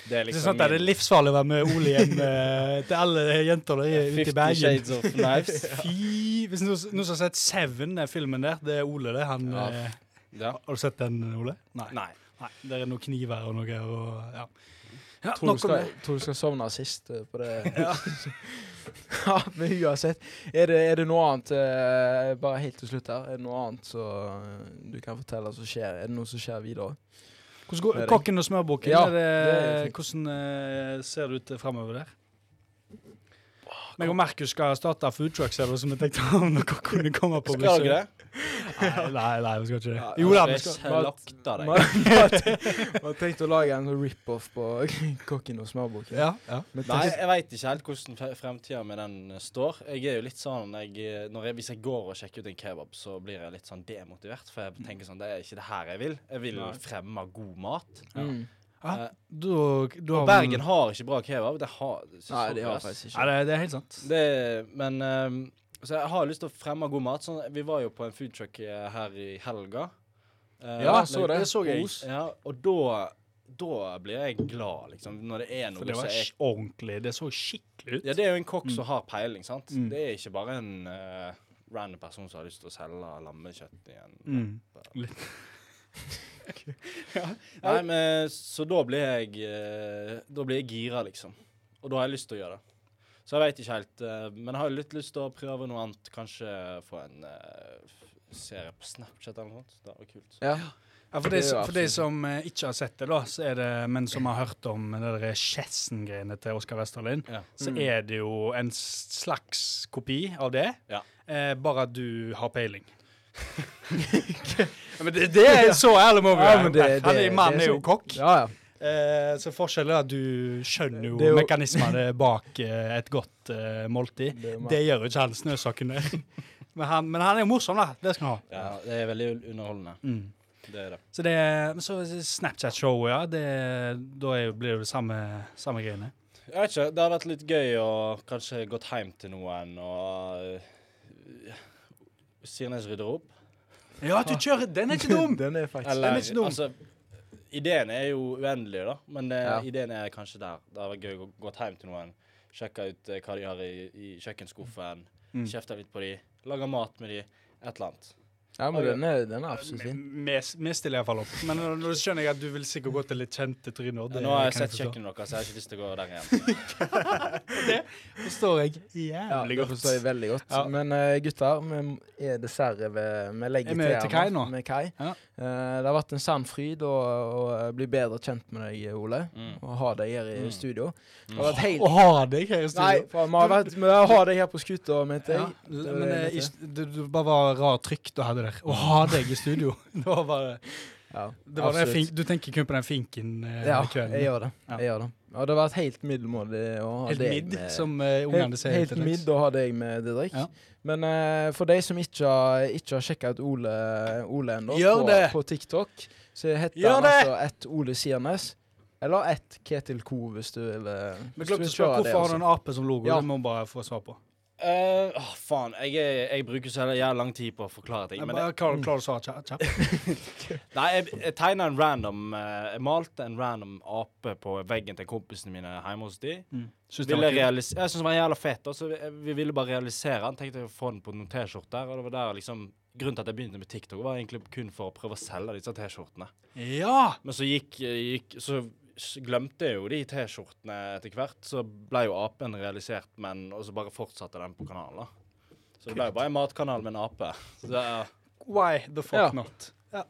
S6: Det er
S5: Det er
S6: liksom
S5: sant, det er livsfarlig å være med Ole hjem eh, til alle jenter der
S6: min
S5: Eh, ute i
S6: 50
S5: Bergen.
S6: Shades of Knives.
S5: Fy Hvis noen noen som har sett Seven, den filmen der, det er Ole, det. Han
S6: Ja.
S5: eh,
S6: Ja.
S5: Har du sett den, Ole?
S6: Nei.
S5: Nei, det er noen kniver og noe og ja. ja
S4: Tror du, skal, tror du skal sovne sist eh, på det? Ja. men uansett. Er det, er det noe annet eh, Bare helt til slutt her. Er det noe annet som du kan fortelle som skjer? Er det noe som skjer videre?
S5: Hvordan går
S4: Erik.
S5: kokken og smørbukken?
S4: Ja,
S5: er det,
S4: det er fint.
S5: hvordan eh, ser det ut framover der? Meg og Markus skal starte food truck, ser det ut som vi tenkte om dere kunne komme på
S6: Skal dere det?
S5: Nei, nei, nei, vi skal ikke det. Jo da, vi skal
S6: Jeg slakter deg.
S4: Man tenkte å lage en sånn rip-off på Kokken og smørboken.
S5: ja, ja.
S4: Men
S6: Nei,
S4: tenk-
S6: jeg veit ikke helt hvordan fre- fremtida med den eh, står. Jeg er jo litt sånn jeg, eh, når jeg, Hvis jeg går og sjekker ut en kebab, så blir jeg litt sånn demotivert. For jeg tenker sånn Det er ikke det her jeg vil. Jeg vil fremme god mat.
S4: mm.
S5: Ja, Du, du har
S6: Eh, Og Bergen har ikke bra kebab. Det har
S4: Nei, de har
S6: sorry, ass.
S4: faktisk
S5: Ja,
S4: ikke.
S5: det, det er helt sant.
S6: Det, men ehm, Så jeg har lyst til å fremme god mat. Sånn, vi var jo på en foodtruck eh, her i helga. Eh,
S4: Ja, så det.
S5: Det så jeg.
S4: Os.
S6: Ja, og da Da blir jeg glad, liksom. Når det er
S5: For
S6: noe
S5: det
S6: som
S5: var
S6: er
S5: sk- ordentlig. Det så skikkelig ut.
S6: Ja, det er jo en kokk som har peiling, sant.
S5: Mm.
S6: Det er ikke bare en eh, random person som har lyst til å selge lammekjøtt igjen.
S5: Mm.
S6: Nei, men Så da blir jeg eh, Da blir jeg gira, liksom. Og da har jeg lyst til å gjøre det. Så jeg veit ikke helt. eh, men jeg har litt lyst til å prøve noe annet. Kanskje få en eh, f- ser jeg på Snapchat eller noe sånt. Det var kult.
S4: Ja.
S5: Ja, for,
S4: Det
S5: de,
S4: er jo
S5: for de
S4: absolutt.
S5: som eh, ikke har sett det, da, så er det, men som har hørt om det der Chesson-greiene til Oskar Westerlin,
S6: Ja.
S5: så
S4: Mm.
S5: er det jo en slags kopi av det,
S6: Ja.
S5: eh, bare at du har peiling. ja, men det, det er så ærlig må vi
S4: Ja,
S5: være.
S4: men det-
S5: Han
S4: det-
S5: er- Mannen
S4: det er så-
S5: er jo kokk,
S4: Ja, ja.
S5: eh, så forskjellen er at du skjønner jo,
S4: Det er jo-
S5: mekanismene bak eh, et godt eh, måltid.
S4: Det er jo meg.
S5: Det gjør jo ikke han snøsakken der. Men han, men han er jo morsom, da. Det skal han ha.
S6: ja, det er veldig underholdende.
S5: Mm.
S6: Det er det.
S5: Så det men så Snapchat-showet, ja. Det, da er, jo- blir det jo det samme, samme greiene.
S6: Jeg vet ikke, det hadde vært litt gøy å kanskje gått hjem til noen og øh, Sirnes rydder opp.
S5: Ja, du kjører! Den er ikke dum!
S4: Den er faktisk
S6: Eller,
S5: Den er ikke dum.
S6: Altså, ideen er jo uendelig, da, men det,
S4: Ja.
S6: ideen er kanskje der. Det hadde vært gøy å gå- gått hjem til noen, sjekke ut eh, hva de har i, i kjøkkenskuffen,
S5: Mm.
S6: kjefte litt på de, lage mat med de, et eller annet.
S4: Ja, men den er, den er absolutt fin.
S5: Vi vi stiller iallfall opp. Men nå- nå skjønner jeg at du vil sikkert gå til litt kjente tryner. det
S6: Nå har jeg
S5: kan
S6: sett
S5: forstå.
S6: kjøkkenet deres, så jeg har ikke lyst til å gå der igjen.
S5: Forstår jeg
S4: Ja,
S5: jævlig
S4: det
S5: godt.
S4: forstår jeg veldig godt.
S5: Ja.
S4: Men eh, gutter, vi er dessverre ved Vi legger
S5: Er vi til Kai nå?
S4: Med Kai.
S5: Ja.
S4: Eh, det har vært en sann fryd å, å bli bedre kjent med deg, Ole,
S6: Mm.
S4: og ha deg her i
S6: Mm.
S4: studio. Det har vært helt
S5: Å ha deg her i
S4: Nei,
S5: studio.
S4: faen, vi har vært vi har deg her på skuta, mente
S5: Ja,
S4: jeg. Det var
S5: men
S4: det
S5: eh,
S4: jeg
S5: ikke- du, du bare var rart trykk du hadde der. Å ha deg i studio. Det var bare
S4: Ja,
S5: det var den
S4: absolutt.
S5: fink, Du tenker kun på den finken eh,
S4: Ja,
S5: kvelden.
S4: jeg gjør det.
S5: Ja.
S4: Jeg gjør det. Og det har vært helt middelmådig å ha
S5: Helt
S4: deg
S5: midd,
S4: med-
S5: som eh, ungene
S4: Helt,
S5: sier.
S4: helt
S5: til dags.
S4: midd å ha deg med, Didrik.
S5: Ja.
S4: Men eh, for de som ikke har, ikke har sjekka ut Ole, Ole ennå
S5: Gjør
S4: på,
S5: det!
S4: på TikTok, så heter
S5: Gjør
S4: han
S5: det!
S4: altså ett Ole Siernes. Eller ett Ketil Co, hvis du vil eh,
S5: Men
S4: hvis du
S5: glemte
S4: vil
S5: å spørre
S4: kjøre
S5: hvorfor har du
S4: altså.
S5: en ape som logo?
S4: Ja.
S5: Det må vi bare få svar på.
S6: Eh, Åh, faen. Jeg, er- jeg bruker så jævla lang tid på å forklare ting.
S5: Jeg
S6: Men
S5: bare
S6: jeg,
S4: Mm.
S5: klarer, klarer å svare kjapt. kjapt.
S6: nei, jeg, jeg tegna en random eh, Jeg malte en random ape på veggen til kompisene mine hjemme hos de.
S4: Mm.
S5: Synes det
S6: ville
S5: var kult.
S6: realis- jeg syns den var jævla fet, og så vi, vi ville bare realisere den. Tenkte jeg å få den på noen T-skjorter. Og det var der liksom Grunnen til at jeg begynte med TikTok, var egentlig kun for å prøve å selge disse T-skjortene.
S5: Ja!
S6: Men så gikk, eh, gikk Så s- glemte jeg jo de T-skjortene etter hvert. Så ble jo apen realisert, men Og så bare fortsatte den på kanalen, da. Så det ble jo bare en matkanal med en ape. Så det er
S5: Why the fuck
S4: Ja.
S5: not? Ja.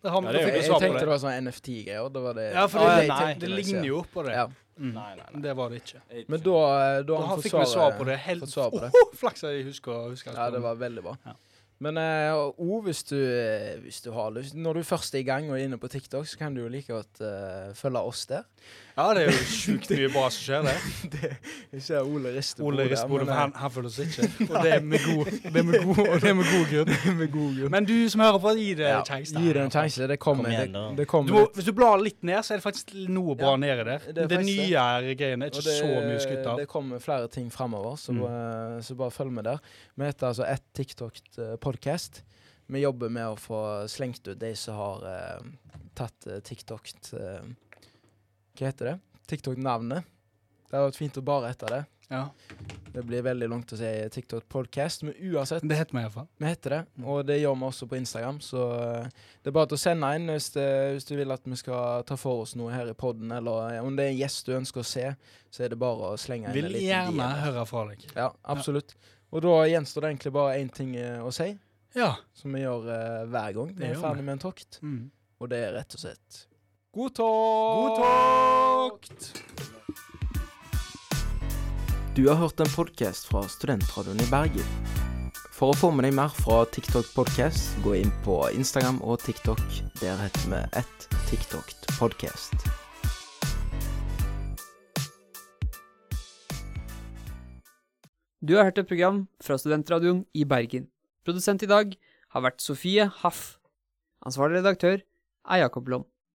S5: Det har, ja,
S6: Ja, det er
S5: fikk
S6: jo-
S4: Jeg,
S5: vi
S4: jeg
S5: svar på
S4: tenkte det
S5: det.
S4: var sånn NFT-greier. Det var det.
S5: Ja, for
S6: Ah,
S5: det,
S6: nei,
S5: det, ligner jo på det.
S4: Ja.
S6: Nei, nei, nei.
S5: Det var det ikke.
S4: Men da, eh, da
S5: Da
S4: har han fått
S5: fikk vi svar på det. Helt
S4: fått svar på det.
S5: Oho, Flaks at jeg husker å huske
S4: Ja, det var veldig bra.
S5: Ja.
S4: Men eh, og O, hvis du, eh, hvis du har lyst Når du først er i gang og er inne på TikTok, så kan du jo like godt eh, følge oss der.
S5: ja, det er jo sjukt mye bra som skjer, det.
S4: Jeg ser Ole rister
S5: Ole
S4: hodet,
S5: rister på hodet,
S4: men,
S5: for
S4: eh,
S5: han, han føler seg ikke. Og det er med god, det er med god, og det er med god grunn. Men eh, du som hører på, gi det
S4: Ja,
S5: en sjanse.
S4: Gi det en sjanse. Det kommer.
S8: Kom igjen,
S4: det,
S8: da.
S4: det kommer
S5: Du må,
S4: litt.
S5: hvis du blar litt ned, så er det faktisk noe bra
S4: Ja,
S5: nede der.
S4: det er
S5: Det,
S4: faktisk det.
S5: nye er greiene er
S4: Og
S5: ikke
S4: det-
S5: så mye skutt av. Mm.
S4: Det kommer flere ting fremover, så, eh, så bare følg med der. Vi heter altså Ett TikTok eh, podcast. Vi jobber med å få slengt ut de som har eh, tatt eh, TikTok eh, Hva heter det? TikTok-navnet. Det hadde vært fint å bare hete det.
S5: Ja.
S4: Det blir veldig langt å si TikTok podcast, men uansett
S5: Det heter vi iallfall.
S4: Vi heter det, og det gjør vi også på Instagram. Så eh, det er bare til å sende inn hvis, det, hvis du vil at vi skal ta for oss noe her i poden, eller eh, om det er en gjest du ønsker å se, så er det bare å slenge inn
S5: Vil
S4: en liten
S5: gjerne
S4: DM.
S5: høre fra deg.
S4: Ja, absolutt. Og da gjenstår det egentlig bare én ting eh, å si,
S5: Ja.
S4: som vi gjør eh, hver gang vi
S5: Det
S4: er
S5: gjør vi.
S4: ferdig med en tokt,
S5: Mm.
S4: og det er rett og slett God tokt! Du har hørt en podkast fra Studentradioen i Bergen. For å få med deg mer fra TikTok Podcast, gå inn på Instagram og TikTok. Der heter vi ett TikTok Podcast.
S9: Du har hørt et program fra Studentradioen i Bergen. Produsent i dag har vært Sofie Haff. Ansvarlig redaktør er Jakob Lom.